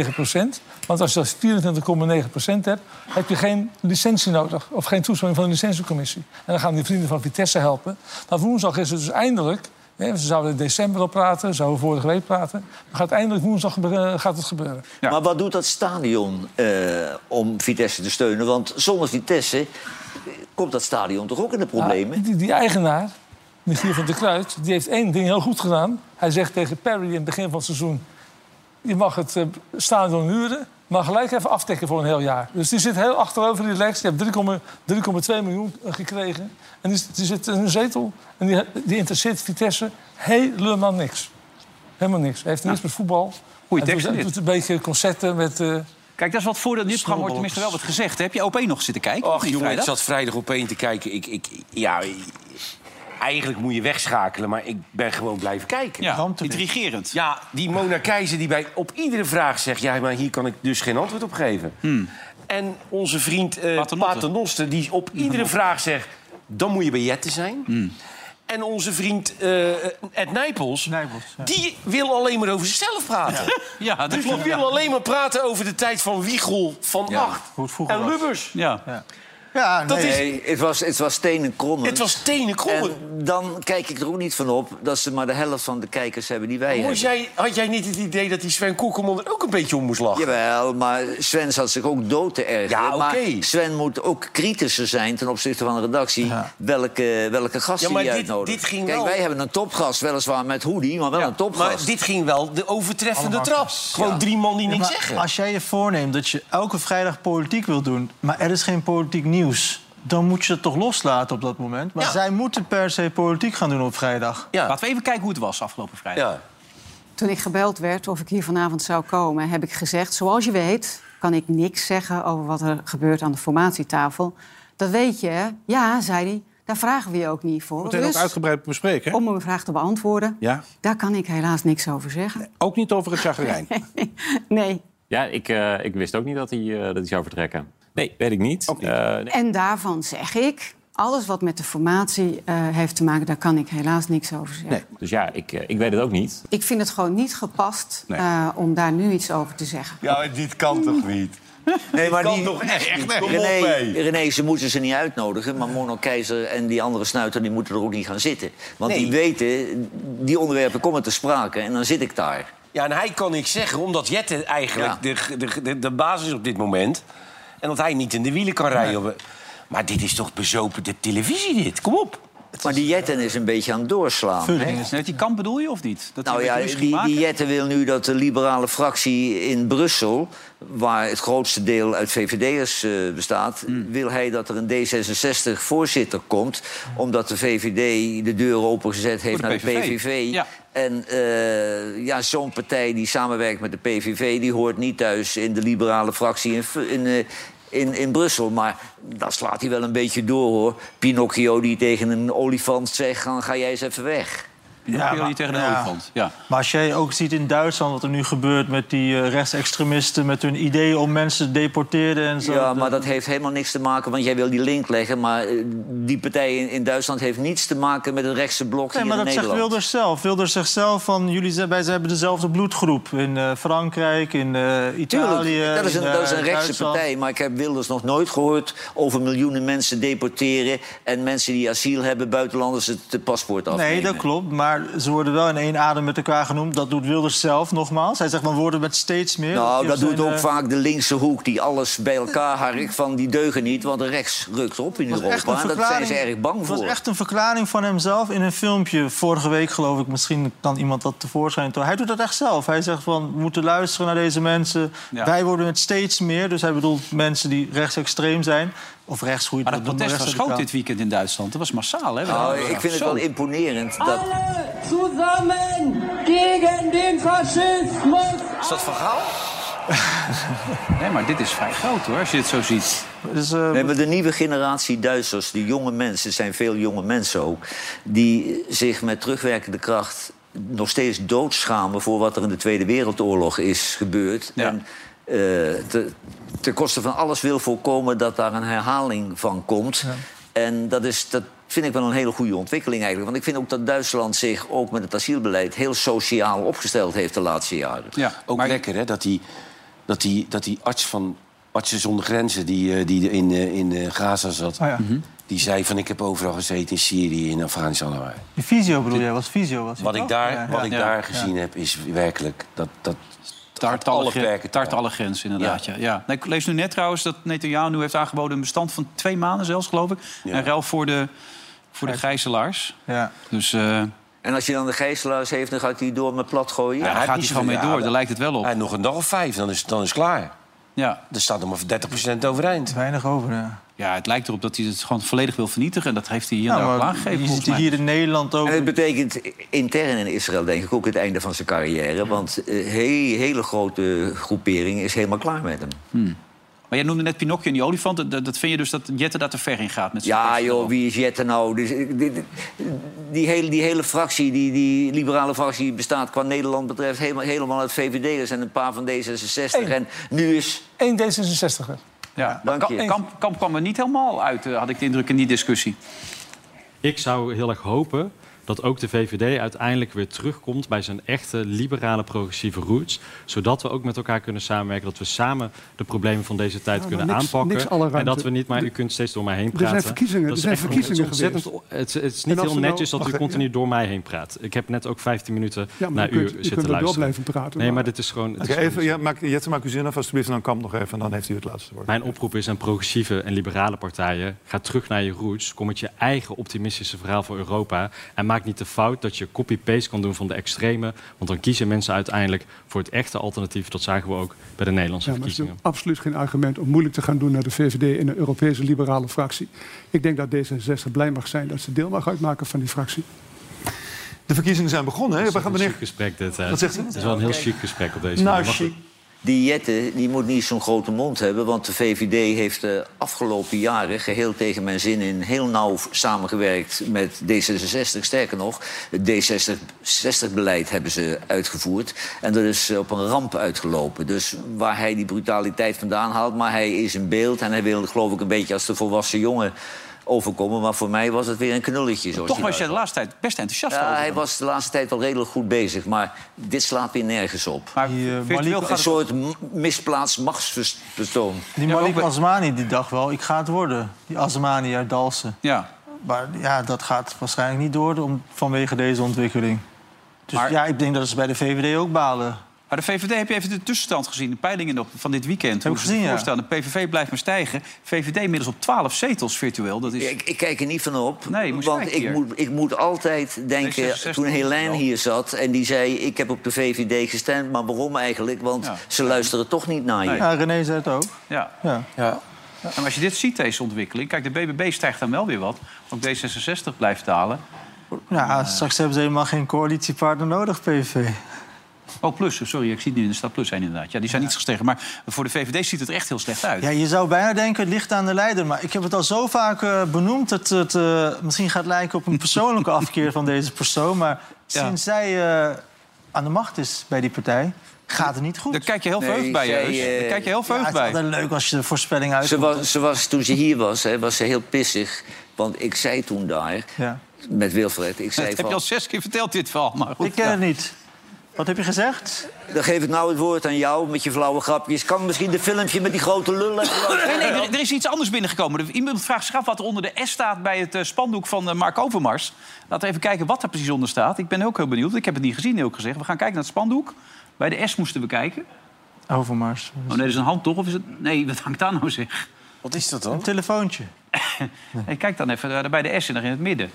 Speaker 2: 24,9 procent. Want als je dat 24,9 procent hebt, heb je geen licentie nodig. Of geen toestemming van de licentiecommissie. En dan gaan die vrienden van Vitesse helpen. Nou, woensdag is het dus eindelijk. Hè, ze zouden in december al praten, ze zouden vorige week praten. Dan gaat eindelijk woensdag gebe- gaat het gebeuren.
Speaker 1: Ja.
Speaker 5: Maar wat doet dat stadion eh, om Vitesse te steunen? Want zonder Vitesse eh, komt dat stadion toch ook in de problemen?
Speaker 4: Ah,
Speaker 2: Ja, die, die eigenaar, Michiel van der Kruid, die heeft één ding heel goed gedaan. Hij zegt tegen Perry in het begin van het seizoen... je mag het eh, stadion huren, maar gelijk even aftekken voor een heel jaar. Dus die zit heel achterover, relaxed. Die heeft 3,2 miljoen eh, gekregen. En die, die zit in een zetel. En die, die interesseert Vitesse helemaal niks. Helemaal niks. Hij heeft niks met voetbal.
Speaker 1: Goeie
Speaker 2: Hij
Speaker 1: tekst,
Speaker 2: doet- hij
Speaker 1: dit.
Speaker 2: doet een beetje concerten met... eh,
Speaker 1: Kijk, dat is wat voordeel. In dit programma wordt
Speaker 2: Snowballs.
Speaker 1: tenminste wel wat gezegd. hè? Heb je OP nog zitten kijken? Of
Speaker 4: Och,
Speaker 1: niet,
Speaker 4: jongen, ik
Speaker 1: vrijdag?
Speaker 4: zat vrijdag op één te kijken. Ik, ik, ja, eigenlijk moet je wegschakelen, maar ik ben gewoon blijven kijken.
Speaker 1: Ja,
Speaker 3: Ramte dit.
Speaker 1: intrigerend.
Speaker 4: Ja, die Mona Keizer die bij op iedere vraag zegt... ja, maar hier kan ik dus geen antwoord op geven.
Speaker 1: Hmm.
Speaker 4: En onze vriend eh
Speaker 1: Paternoster.
Speaker 4: Paternoster die op iedere vraag zegt... dan moet je bij Jette zijn.
Speaker 1: Hmm.
Speaker 4: En onze vriend eh, Ed Nijpels,
Speaker 3: Nijpels, ja.
Speaker 4: die wil alleen maar over zichzelf praten.
Speaker 1: Ja, dat
Speaker 4: Dus die
Speaker 1: klopt.
Speaker 4: wil alleen maar praten over de tijd van Wiegel, Van Acht
Speaker 3: hoe het vroeger
Speaker 4: en
Speaker 3: was.
Speaker 4: Lubbers.
Speaker 1: Ja.
Speaker 3: Ja,
Speaker 4: Dat is-
Speaker 5: Nee, het was, het was stenen krommen.
Speaker 4: Het was tenen krommen.
Speaker 5: En dan kijk ik er ook niet van op dat ze maar de helft van de kijkers hebben die wij
Speaker 4: Moest
Speaker 5: hebben.
Speaker 4: jij, had jij niet het idee dat die Sven Kokkelman er ook een beetje om moest lachen?
Speaker 5: Jawel, maar Sven zat zich ook dood te ergeren.
Speaker 4: Ja,
Speaker 5: Maar
Speaker 4: oké.
Speaker 5: Sven moet ook kritischer zijn ten opzichte van de redactie... welke, welke gasten
Speaker 4: Ja, maar
Speaker 5: die
Speaker 4: dit-
Speaker 5: uitnodigt.
Speaker 4: dit ging
Speaker 5: Kijk,
Speaker 4: wel-
Speaker 5: wij hebben een topgast, weliswaar met hoodie, maar wel een
Speaker 4: maar
Speaker 5: topgast.
Speaker 4: dit ging wel de overtreffende
Speaker 3: Allemaal
Speaker 4: trap. Gewoon drie man die
Speaker 3: Ja,
Speaker 4: niks
Speaker 3: maar
Speaker 4: zeggen.
Speaker 3: Als jij je voorneemt dat je elke vrijdag politiek wilt doen, maar er is geen politiek nieuws, dan moet je dat toch loslaten op dat moment. Maar
Speaker 4: Ja.
Speaker 3: zij moeten per se politiek gaan doen op vrijdag.
Speaker 4: Ja.
Speaker 1: Laten we even kijken hoe het was afgelopen vrijdag.
Speaker 4: ja.
Speaker 6: Toen ik gebeld werd of ik hier vanavond zou komen, heb ik gezegd: Zoals je weet, kan ik niks zeggen over wat er gebeurt aan de formatietafel. Dat weet je, hè? Ja, zei hij. Daar vragen we je ook niet voor.
Speaker 7: Meteen ook
Speaker 6: Dus,
Speaker 7: uitgebreid bespreken. hè?
Speaker 6: om een vraag te beantwoorden,
Speaker 7: Ja.
Speaker 6: daar kan ik helaas niks over zeggen.
Speaker 7: Ook niet over het chagrijn.
Speaker 6: Nee.
Speaker 8: Ja, ik, eh, ik wist ook niet dat hij, eh, dat hij zou vertrekken. Nee, weet ik niet.
Speaker 7: Ook niet.
Speaker 8: Eh, nee.
Speaker 6: En daarvan zeg ik: alles wat met de formatie eh, heeft te maken, daar kan ik helaas niks over zeggen.
Speaker 8: Dus ja, ik, eh, ik weet het ook niet.
Speaker 6: Ik vind het gewoon niet gepast
Speaker 7: Nee.
Speaker 6: eh, om daar nu iets over te zeggen.
Speaker 9: Ja, maar dit kan toch niet?
Speaker 5: nee, maar
Speaker 9: Kan
Speaker 5: die-
Speaker 9: toch echt, niet? Kom op,
Speaker 5: René,
Speaker 9: hé.
Speaker 5: René, ze moeten ze niet uitnodigen. Maar Mono Keizer en die andere snuiter die moeten er ook niet gaan zitten. Want die weten, die onderwerpen komen te sprake en dan zit ik daar.
Speaker 4: ja, en hij kan niks zeggen, omdat Jette eigenlijk de, de, de, de basis is op dit moment. En dat hij niet in de wielen kan rijden. op- Maar dit is toch bezopen de televisie, dit? Kom op.
Speaker 5: Maar die Jetten is een beetje aan het doorslaan. hè?
Speaker 1: Is net die kamp bedoel je of niet? Dat
Speaker 5: Nou
Speaker 1: hij een
Speaker 5: ja,
Speaker 1: beetje ruzie
Speaker 5: die,
Speaker 1: ging
Speaker 5: die
Speaker 1: maken?
Speaker 5: Jetten wil nu dat de liberale fractie in Brussel... waar het grootste deel uit VVD'ers eh, bestaat...
Speaker 1: Hmm.
Speaker 5: wil hij dat er een D66-voorzitter komt... omdat de VVD de deuren opengezet heeft
Speaker 1: Voor
Speaker 5: naar
Speaker 1: de
Speaker 5: de
Speaker 1: PVV.
Speaker 5: PVV.
Speaker 1: Ja.
Speaker 5: En eh, ja, zo'n partij die samenwerkt met de PVV... die hoort niet thuis in de liberale fractie in, in, eh, in, in Brussel. Maar daar slaat hij wel een beetje door, hoor. Pinocchio die tegen een olifant zegt... "Ga- ga jij eens even weg.
Speaker 1: Ja,
Speaker 3: maar-
Speaker 1: tegen de
Speaker 3: ja.
Speaker 1: olifant. Ja.
Speaker 3: Maar als jij ook ziet in Duitsland wat er nu gebeurt met die eh, rechtsextremisten... met hun ideeën om mensen te deporteren en zo.
Speaker 5: Ja, maar dat heeft helemaal niks te maken, want jij wil die link leggen. Maar eh, die partij in, in Duitsland heeft niets te maken met het rechtse blok
Speaker 3: Nee,
Speaker 5: hier
Speaker 3: maar
Speaker 5: in
Speaker 3: dat zegt
Speaker 5: Nederland.
Speaker 3: Wilders zelf. Wilders zegt zelf van, jullie zijn, wij hebben dezelfde bloedgroep. In eh, Frankrijk, in eh,
Speaker 5: Tuurlijk,
Speaker 3: Italië,
Speaker 5: dat is een,
Speaker 3: in,
Speaker 5: dat is een
Speaker 3: eh,
Speaker 5: rechtse
Speaker 3: Duitsland.
Speaker 5: partij. Maar ik heb Wilders nog nooit gehoord over miljoenen mensen deporteren... en mensen die asiel hebben, buitenlanders het eh, paspoort afnemen.
Speaker 3: Nee, dat klopt. Maar ze worden wel in één adem met elkaar genoemd. Dat doet Wilders zelf nogmaals. Hij zegt, we worden met steeds meer.
Speaker 5: Nou,
Speaker 3: Op
Speaker 5: dat
Speaker 3: zijn,
Speaker 5: doet ook
Speaker 3: eh,
Speaker 5: vaak de linkse hoek die alles bij elkaar harkt van die deugen niet... want de rechts rukt op in
Speaker 3: Het was echt
Speaker 5: Europa en
Speaker 3: een
Speaker 5: daar zijn ze
Speaker 3: verklaring-
Speaker 5: erg bang
Speaker 3: Het
Speaker 5: voor.
Speaker 3: was echt een verklaring van hemzelf in een filmpje vorige week, geloof ik. Misschien kan iemand dat tevoorschijn tonen. Hij doet dat echt zelf. Hij zegt van, we moeten luisteren naar deze mensen.
Speaker 1: Ja.
Speaker 3: Wij worden het steeds meer. Dus hij bedoelt mensen die rechtsextreem zijn. Of rechts, hoe je
Speaker 1: Maar dat
Speaker 3: het
Speaker 1: protest
Speaker 3: noemt, rechtsradicaal.
Speaker 1: verschoot dit weekend in Duitsland. Dat was massaal, hè?
Speaker 5: Nou, ik vind het
Speaker 1: Zo.
Speaker 5: wel imponerend
Speaker 8: Ah,
Speaker 5: dat...
Speaker 10: zusammen gegen den Faschismus.
Speaker 4: Is dat van Gaal?
Speaker 1: Nee, maar dit is vrij groot, hoor, als je dit zo ziet.
Speaker 3: Dus, eh,
Speaker 5: Nee, maar de nieuwe generatie Duitsers, die jonge mensen, er zijn veel jonge mensen ook, die zich met terugwerkende kracht nog steeds doodschamen voor wat er in de Tweede Wereldoorlog is gebeurd.
Speaker 1: Ja.
Speaker 5: En eh, te, ten koste van alles wil voorkomen dat daar een herhaling van komt. En dat, is, dat vind ik wel een hele goede ontwikkeling eigenlijk. Want ik vind ook dat Duitsland zich ook met het asielbeleid... heel sociaal opgesteld heeft de laatste jaren.
Speaker 1: Ja,
Speaker 4: Ook lekker, hè? Dat die, dat die, dat die arts van Artsen zonder Grenzen, die, eh, die in, eh, in eh, Gaza zat...
Speaker 1: Hm.
Speaker 3: Oh ja. Mhm.
Speaker 4: die zei van, ik heb overal gezeten in Syrië, in Afghanistan. en waar."
Speaker 3: Die visio bedoel jij, was visio was hij
Speaker 4: Wat
Speaker 3: toch?
Speaker 4: ik daar,
Speaker 3: Ja,
Speaker 4: wat
Speaker 3: ja.
Speaker 4: ik
Speaker 3: Ja.
Speaker 4: daar gezien heb, is werkelijk... Dat, dat
Speaker 1: Tart alle,
Speaker 4: alle perken
Speaker 1: grenzen, tart alle grenzen, inderdaad. Ja. Ja. Nee, ik lees nu net trouwens dat Netanyahu heeft aangeboden... een bestand van twee maanden zelfs, geloof ik. En ruil voor de, voor de gijzelaars.
Speaker 3: Ja.
Speaker 1: Dus eh,
Speaker 5: En als je dan de gijzelaars heeft, dan gaat hij door met platgooien.
Speaker 1: ja, daar gaat hij gewoon mee door, daar lijkt het wel op.
Speaker 4: En Ah, nog een dag of vijf, dan is, dan is het klaar.
Speaker 1: Ja.
Speaker 4: Er staat nog maar 30% overeind.
Speaker 3: Weinig over, ja.
Speaker 1: ja, het lijkt erop dat hij het gewoon volledig wil vernietigen. En dat heeft hij hier
Speaker 3: Ja,
Speaker 1: nou,
Speaker 3: maar
Speaker 1: al aangegeven,
Speaker 3: je
Speaker 1: volgens
Speaker 3: ziet
Speaker 1: mij.
Speaker 3: hier in Nederland ook...
Speaker 5: En het betekent intern in Israël, denk ik, ook het einde van zijn carrière. Want een hele grote groepering is helemaal klaar met hem.
Speaker 1: Maar jij noemde net Pinocchio en die olifant. Dat, dat vind je dus dat Jette daar te ver in gaat met zijn
Speaker 5: Ja,
Speaker 1: tekst.
Speaker 5: joh, wie is Jette nou? Dus, eh, die, die- die hele, die hele fractie, die, die liberale fractie, bestaat qua Nederland betreft helemaal, helemaal uit VVD'ers en een paar van D66. En nu is.
Speaker 2: Eén D66er.
Speaker 1: Ja.
Speaker 5: Dank
Speaker 1: Kamp,
Speaker 5: je.
Speaker 1: Kamp- Kamp kwam er niet helemaal uit, eh, had ik de indruk in die discussie.
Speaker 11: Ik zou heel erg hopen dat ook de VVD uiteindelijk weer terugkomt bij zijn echte liberale progressieve roots. Zodat we ook met elkaar kunnen samenwerken. Dat we samen de problemen van deze tijd
Speaker 12: Ja, maar
Speaker 11: kunnen
Speaker 12: Nou, niks-
Speaker 11: aanpakken.
Speaker 12: niks alle
Speaker 11: en
Speaker 12: ruimte.
Speaker 11: dat we niet, maar u kunt steeds door mij heen
Speaker 12: Er zijn
Speaker 11: praten.
Speaker 12: verkiezingen,
Speaker 11: Dat
Speaker 12: er
Speaker 11: is
Speaker 12: zijn
Speaker 11: echt-
Speaker 12: verkiezingen
Speaker 11: het is ontzettend
Speaker 12: geweest.
Speaker 11: o- Het, het is
Speaker 12: En
Speaker 11: niet
Speaker 12: als
Speaker 11: heel
Speaker 12: we nou-
Speaker 11: netjes dat
Speaker 12: wacht,
Speaker 11: u
Speaker 12: ja.
Speaker 11: continu door mij heen praat. Ik heb net ook 15 minuten
Speaker 12: Ja, maar
Speaker 11: naar
Speaker 12: u
Speaker 11: u
Speaker 12: kunt- u kunt
Speaker 11: zitten
Speaker 12: wel door
Speaker 11: luisteren.
Speaker 12: blijven praten,
Speaker 11: Nee,
Speaker 12: maar-
Speaker 11: maar dit is gewoon... het
Speaker 9: Oké,
Speaker 11: is gewoon
Speaker 9: even, ja, maak, Jette, maak uw zin af alsjeblieft en dan Kamp nog even. En dan heeft u het laatste woord.
Speaker 11: Mijn oproep is aan progressieve en liberale partijen: ga terug naar je roots, kom met je eigen optimistische verhaal voor Europa en maak niet de fout dat je copy-paste kan doen van de extremen, want dan kiezen mensen uiteindelijk voor het echte alternatief. Dat zagen we ook bij de Nederlandse
Speaker 12: Ja, maar het is
Speaker 11: verkiezingen.
Speaker 12: natuurlijk absoluut geen argument om moeilijk te gaan doen naar de VVD in een Europese liberale fractie. Ik denk dat D66 blij mag zijn dat ze deel mag uitmaken van die fractie.
Speaker 9: De verkiezingen zijn begonnen, hè? We gaan
Speaker 11: Een
Speaker 9: meneer...
Speaker 11: chic gesprek dit. hè.
Speaker 9: Wat zegt u?
Speaker 11: Het is wel een heel chic gesprek op deze
Speaker 9: Nou,
Speaker 11: manier. Mag
Speaker 9: chic.
Speaker 5: Die Jette die moet niet zo'n grote mond hebben, want de VVD heeft de afgelopen jaren geheel tegen mijn zin in heel nauw samengewerkt met D66. Sterker nog, het D66-beleid hebben ze uitgevoerd en dat is eh, op een ramp uitgelopen. Dus waar hij die brutaliteit vandaan haalt, maar hij is in beeld en hij wilde geloof ik een beetje als de volwassen jongen overkomen. Maar voor mij was het weer een knulletje. Zoals
Speaker 1: Toch
Speaker 5: hij
Speaker 1: was je de
Speaker 5: daar-
Speaker 1: laatste tijd best enthousiast
Speaker 5: ja,
Speaker 1: over.
Speaker 5: hij
Speaker 1: hem.
Speaker 5: was de laatste tijd wel redelijk goed bezig, maar dit slaat weer nergens op.
Speaker 1: Maar
Speaker 3: eh,
Speaker 1: virtueel
Speaker 5: Een
Speaker 1: gaat het...
Speaker 5: soort m- misplaatst machtsvertoon.
Speaker 3: Die Malik Asmani die dacht wel, ik ga het worden. Die Asmani uit Dalsen.
Speaker 1: Ja.
Speaker 3: Maar ja, dat gaat waarschijnlijk niet door om, vanwege deze ontwikkeling. Dus
Speaker 1: Maar-
Speaker 3: ja, ik denk dat ze bij de VVD ook balen.
Speaker 1: Maar de VVD, heb je even de tussenstand gezien? De peilingen nog van dit weekend. Hoe
Speaker 3: ik
Speaker 1: ze
Speaker 3: gezien,
Speaker 1: ervoor
Speaker 3: ja.
Speaker 1: staan. De PVV blijft maar stijgen. VVD inmiddels op 12 zetels virtueel. Dat is...
Speaker 5: Ik, ik kijk er niet van op.
Speaker 1: Nee, moest
Speaker 5: want
Speaker 1: kijken
Speaker 5: ik
Speaker 1: hier.
Speaker 5: moet, ik moet altijd denken.
Speaker 1: D66
Speaker 5: Toen Helene hier zat en die zei: Ik heb op de VVD gestemd, maar waarom eigenlijk? Want
Speaker 1: Ja.
Speaker 5: ze luisteren toch niet naar je.
Speaker 3: Ja, René zei het ook.
Speaker 1: Ja.
Speaker 3: Ja.
Speaker 1: En als je dit ziet, deze ontwikkeling... Kijk, de BBB stijgt dan wel weer wat. Ook D66 blijft dalen.
Speaker 3: Ja, straks hebben ze helemaal geen coalitiepartner nodig, PVV.
Speaker 1: Oh, plus. Sorry, ik zie het nu in de stad plus zijn inderdaad. Ja, die zijn niet gestegen. Maar voor de VVD ziet het er echt heel slecht uit.
Speaker 3: Ja, je zou bijna denken, het ligt aan de leider. Maar ik heb het al zo vaak eh, benoemd dat het eh, misschien gaat lijken op een persoonlijke afkeer van deze persoon. Maar
Speaker 1: Ja.
Speaker 3: sinds zij eh, aan de macht is bij die partij, gaat het niet goed.
Speaker 1: Daar kijk je heel
Speaker 5: Nee,
Speaker 1: verheugd bij,
Speaker 5: zij,
Speaker 1: Jeus. Daar
Speaker 5: eh,
Speaker 1: kijk je heel
Speaker 3: Ja,
Speaker 1: verheugd
Speaker 3: het is
Speaker 1: bij.
Speaker 3: altijd leuk als je de voorspelling uit.
Speaker 5: Ze was, ze was, toen ze hier was, hè, was ze heel pissig. Want ik zei toen daar,
Speaker 3: Ja.
Speaker 5: met Wilfred, ik
Speaker 1: Dat
Speaker 5: zei
Speaker 1: heb je
Speaker 5: van...
Speaker 1: al zes keer verteld, dit verhaal. Maar goed,
Speaker 3: Ik eh, ken
Speaker 1: ja.
Speaker 5: nou.
Speaker 3: het niet. Wat heb je gezegd?
Speaker 5: Dan geef ik nou het woord aan jou met je flauwe grapjes. Kan misschien de filmpje met die grote lullen...
Speaker 1: Nee, nee, er, er is iets anders binnengekomen. Er- Iemand vraagt zich af wat er onder de S staat bij het eh, spandoek van eh, Mark Overmars. Laten we even kijken wat er precies onder staat. Ik ben ook heel benieuwd. Ik heb het niet gezien, heel gezegd. We gaan kijken naar het spandoek. Bij de S moesten we kijken.
Speaker 3: Overmars.
Speaker 1: Oh nee, dat is een hand toch? Of is het... Nee, wat hangt daar nou zeg?
Speaker 4: Wat is dat
Speaker 3: Een
Speaker 4: dan?
Speaker 3: telefoontje.
Speaker 1: Hey, kijk dan even eh, bij de S en daar in het midden.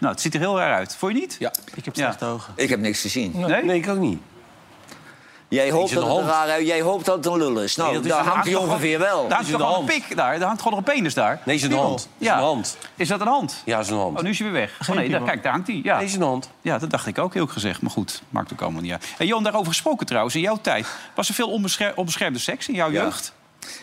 Speaker 1: Nou, het ziet er heel raar uit. Vond je niet?
Speaker 4: Ja.
Speaker 3: Ik heb
Speaker 1: Ja.
Speaker 3: slechte ogen.
Speaker 5: Ik heb niks gezien.
Speaker 1: Nee?
Speaker 4: Nee, ik ook niet.
Speaker 5: Jij hoopt,
Speaker 4: is een
Speaker 5: dat het een
Speaker 4: hand.
Speaker 5: raar, jij hoopt dat het een lul is. Nou,
Speaker 1: dat is
Speaker 5: daar
Speaker 1: een-
Speaker 5: hangt hij
Speaker 1: hangt toch
Speaker 5: ongeveer wel.
Speaker 1: Daar hangt
Speaker 4: Is het
Speaker 1: gewoon
Speaker 4: een
Speaker 1: een pik daar. Daar hangt gewoon nog een penis daar.
Speaker 4: Nee, is een hand. Is
Speaker 1: Ja.
Speaker 4: een hand.
Speaker 1: Is dat een hand?
Speaker 4: Ja, is een hand.
Speaker 1: Oh, nu is hij weer weg. Oh, nee, daar,
Speaker 3: piemel.
Speaker 1: kijk, daar hangt hij. Ja.
Speaker 4: Nee, is een hand.
Speaker 1: Ja, dat dacht ik ook, heel gezegd. Maar goed, maakt ook allemaal niet uit. En Johan, daarover gesproken trouwens, in jouw tijd... was er veel onbescher- onbeschermde seks in jouw jeugd?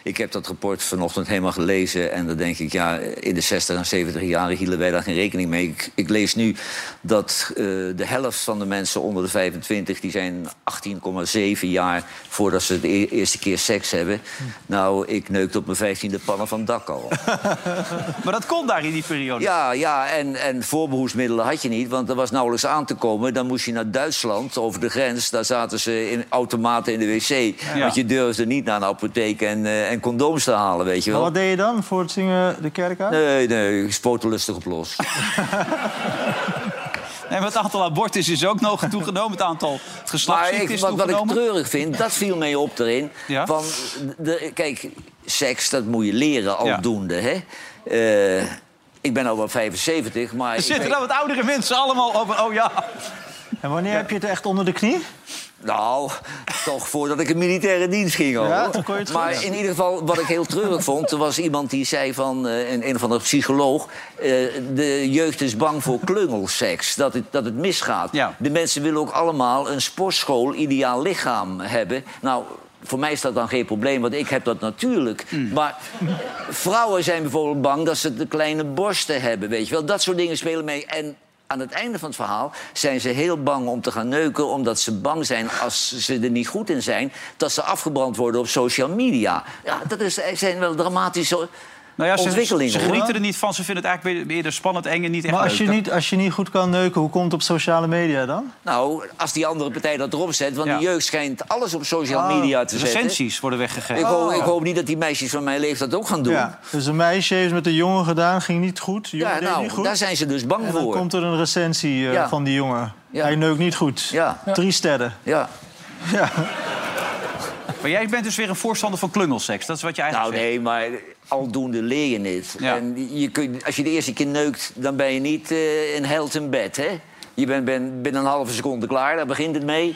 Speaker 5: Ik heb dat rapport vanochtend helemaal gelezen. En dan denk ik, ja, in de 60 en 70 jaren hielden wij daar geen rekening mee. Ik, ik lees nu dat eh, de helft van de mensen onder de 25... die zijn 18,7 jaar voordat ze de e- eerste keer seks hebben. Nou, ik neukte op mijn vijftiende pannen van het dak al.
Speaker 1: Maar dat kon daar in die periode.
Speaker 5: Ja, ja en, en voorbehoedsmiddelen had je niet, want er was nauwelijks aan te komen. Dan moest je naar Duitsland, over de grens. Daar zaten ze in automaten in de wc.
Speaker 3: Ja.
Speaker 5: Want je durfde niet naar een apotheek en, eh, en condooms te halen, weet je
Speaker 3: Maar
Speaker 5: wel.
Speaker 3: wat deed je dan voor het zingen de kerk uit?
Speaker 5: Nee, nee, ik spoot lustig op los.
Speaker 1: En het aantal abortus is ook nog toegenomen. Het aantal
Speaker 5: Maar
Speaker 1: geslachtsziekten
Speaker 5: ik,
Speaker 1: is
Speaker 5: wat, wat ik
Speaker 1: toegenomen.
Speaker 5: treurig vind, dat viel mee op erin.
Speaker 1: Ja.
Speaker 5: Van, de, kijk, seks, dat moet je leren aldoende, hè. Eh, ik ben al wel 75, maar...
Speaker 1: Er
Speaker 5: ik
Speaker 1: zitten
Speaker 5: weet-
Speaker 1: nou wat oudere mensen allemaal over. Oh ja.
Speaker 3: En wanneer heb je het echt onder de knie?
Speaker 5: Nou, toch voordat ik in militaire dienst ging. Hoor.
Speaker 3: Ja, toen kon je het
Speaker 5: maar
Speaker 3: goed.
Speaker 5: in ieder geval, wat ik heel treurig vond... er was iemand die zei van, eh, een, een of andere psycholoog... eh, de jeugd is bang voor klungelseks, dat het, dat het misgaat. De mensen willen ook allemaal een sportschool ideaal lichaam hebben. Nou, voor mij is dat dan geen probleem, want ik heb dat natuurlijk.
Speaker 1: Hmm.
Speaker 5: Maar vrouwen zijn bijvoorbeeld bang dat ze te kleine borsten hebben, weet je wel. Dat soort dingen spelen mee. En aan het einde van het verhaal zijn ze heel bang om te gaan neuken... omdat ze bang zijn, als ze er niet goed in zijn... dat ze afgebrand worden op social media. Ja, dat is, zijn wel dramatische
Speaker 1: Nou ja, ze,
Speaker 5: ontwikkelingen.
Speaker 1: ze
Speaker 5: hoor.
Speaker 1: genieten er niet van. Ze vinden het eigenlijk weer- eerder spannend, eng en niet echt
Speaker 3: Maar als je,
Speaker 1: leuk.
Speaker 3: niet, als je niet goed kan neuken, hoe komt het op sociale media dan?
Speaker 5: Nou, als die andere partij dat erop zet... want
Speaker 3: Ja.
Speaker 5: de jeugd schijnt alles op social
Speaker 3: Ah,
Speaker 5: media te zetten.
Speaker 1: Recensies worden weggegeven.
Speaker 5: Ik, hoop,
Speaker 3: Oh.
Speaker 5: ik hoop niet dat die meisjes van mijn leeftijd ook gaan doen.
Speaker 3: Ja. Dus een meisje heeft met een jongen gedaan, ging niet goed. de jongen
Speaker 5: Ja,
Speaker 3: deed
Speaker 5: nou,
Speaker 3: niet goed.
Speaker 5: daar zijn ze dus bang
Speaker 3: en dan
Speaker 5: voor.
Speaker 3: komt er een recensie eh,
Speaker 5: Ja.
Speaker 3: van die jongen.
Speaker 5: Ja.
Speaker 3: Hij neukt niet goed.
Speaker 5: Ja.
Speaker 3: Drie sterren.
Speaker 5: Ja.
Speaker 1: Maar jij bent dus weer een voorstander van klungelseks. Dat is wat je eigenlijk
Speaker 5: Nou nee, maar aldoende leer je het. En je kunt, als je de eerste keer neukt, dan ben je niet eh in held in bed, hè? Je bent ben, binnen een halve seconde klaar, daar begint het mee.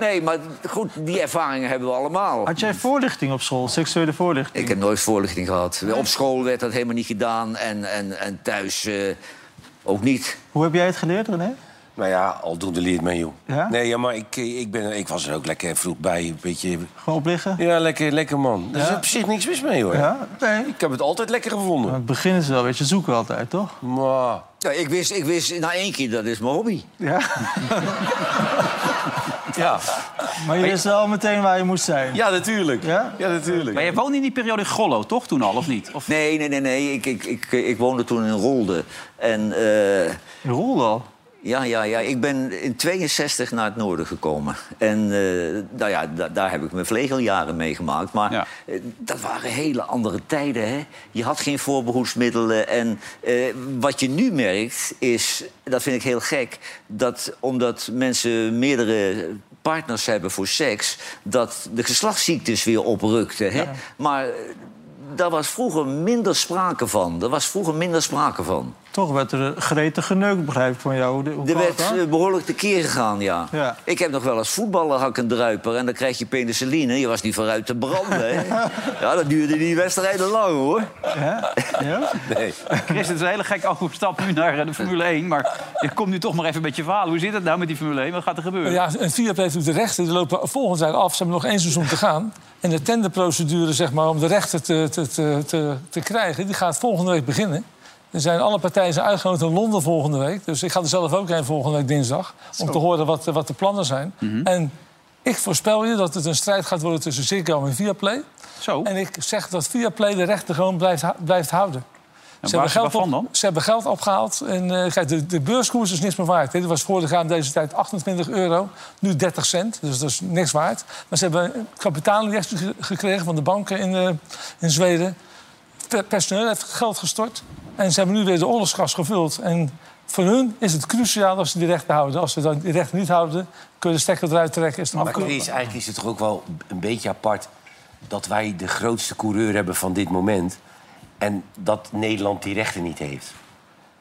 Speaker 5: Nee, maar goed, die ervaringen hebben we allemaal.
Speaker 3: Had jij voorlichting op school, seksuele voorlichting?
Speaker 5: Ik heb nooit voorlichting gehad. Op school werd dat helemaal niet gedaan en, en, en thuis eh, ook niet.
Speaker 3: Hoe heb jij het geleerd, René?
Speaker 4: Nou ja, aldoende leert men, joh.
Speaker 3: Ja?
Speaker 4: Nee, ja, maar ik, eh, ik, ben, ik was er ook lekker vroeg bij. Een beetje...
Speaker 3: Gewoon opliggen?
Speaker 4: Ja, lekker, lekker man. Er is op zich niks mis mee, hoor.
Speaker 3: Ja?
Speaker 4: Nee, ik heb het altijd lekker gevonden.
Speaker 3: Aan het begin is het wel een beetje zoeken altijd, toch?
Speaker 4: Maar...
Speaker 5: Ja, ik, wist, ik wist na één keer, dat is mijn hobby.
Speaker 3: Ja?
Speaker 4: ja.
Speaker 3: Maar je wist wel meteen waar je moest zijn.
Speaker 4: Ja, natuurlijk.
Speaker 3: Ja?
Speaker 4: natuurlijk.
Speaker 1: Maar jij woonde in die periode in Gollo, toch? Toen al, of niet? Of...
Speaker 5: Nee, nee, nee, nee. Ik, ik, ik, ik woonde toen in Rolde. En, eh
Speaker 3: in Rolde al?
Speaker 5: Ja, ja, ja. Ik ben in 62 naar het noorden gekomen. En eh, nou ja, da- daar heb ik mijn vlegeljaren meegemaakt. Maar eh, dat waren hele andere tijden, hè. Je had geen voorbehoedsmiddelen. En eh, wat je nu merkt is, dat vind ik heel gek... dat omdat mensen meerdere partners hebben voor seks... dat de geslachtsziektes weer oprukten, hè. Maar... eh, Daar was vroeger minder sprake van. Er was vroeger minder sprake van.
Speaker 3: Toch werd er gretig geneukt, begrijp ik van jou. Hoe
Speaker 5: Er
Speaker 3: kwam
Speaker 5: werd
Speaker 3: dat?
Speaker 5: eh, behoorlijk tekeer gegaan, ja.
Speaker 3: Ja.
Speaker 5: Ik heb nog wel als voetballer hak en druiper... en dan krijg je penicilline. Je was niet vooruit te branden, hè. Ja, dat duurde die wedstrijden lang, hoor.
Speaker 3: Ja?
Speaker 1: eh,
Speaker 3: Ja?
Speaker 4: Nee.
Speaker 1: Chris, het is een hele gekke overstap nu naar eh, de Formule 1. Maar je komt nu toch maar even met je verhaal. Hoe zit het nou met die Formule 1? Wat gaat er gebeuren?
Speaker 2: Ja, en Fiat heeft ook de rechten. Die lopen volgend jaar af. Ze hebben nog één seizoen te gaan. En de tenderprocedure zeg maar, om de rechten te, te, te, te, te krijgen... die gaat volgende week beginnen. Er zijn alle partijen zijn uitgenodigd in Londen volgende week. Dus ik ga er zelf ook heen volgende week dinsdag. Om te horen wat, eh, wat de plannen zijn. En ik voorspel je dat het een strijd gaat worden tussen Ziggo en Viaplay.
Speaker 1: Zo.
Speaker 2: En ik zeg dat Viaplay de rechten gewoon blijft, hou- blijft houden.
Speaker 1: En
Speaker 2: Ze hebben,
Speaker 1: waar-
Speaker 2: geld
Speaker 1: waarvan
Speaker 2: op-
Speaker 1: dan?
Speaker 2: ze hebben geld opgehaald. En, eh, kijk, de, de beurskoers is niks meer waard. Hè. Dat was vorig jaar aan deze tijd 28 euro, nu 30 cent. Dus dat is niks waard. Maar ze hebben kapitaalinjectie ge- gekregen van de banken in, eh, in Zweden. Per- Personeel heeft geld gestort. En ze hebben nu weer de oorlogsgas gevuld. En voor hun is het cruciaal dat ze die rechten houden. Als ze dan die rechten niet houden, kun je de stekker eruit trekken. Is het
Speaker 4: Maar
Speaker 2: afgelopen.
Speaker 4: Chris, eigenlijk is het toch ook wel een beetje apart... dat wij de grootste coureur hebben van dit moment... en dat Nederland die rechten niet heeft.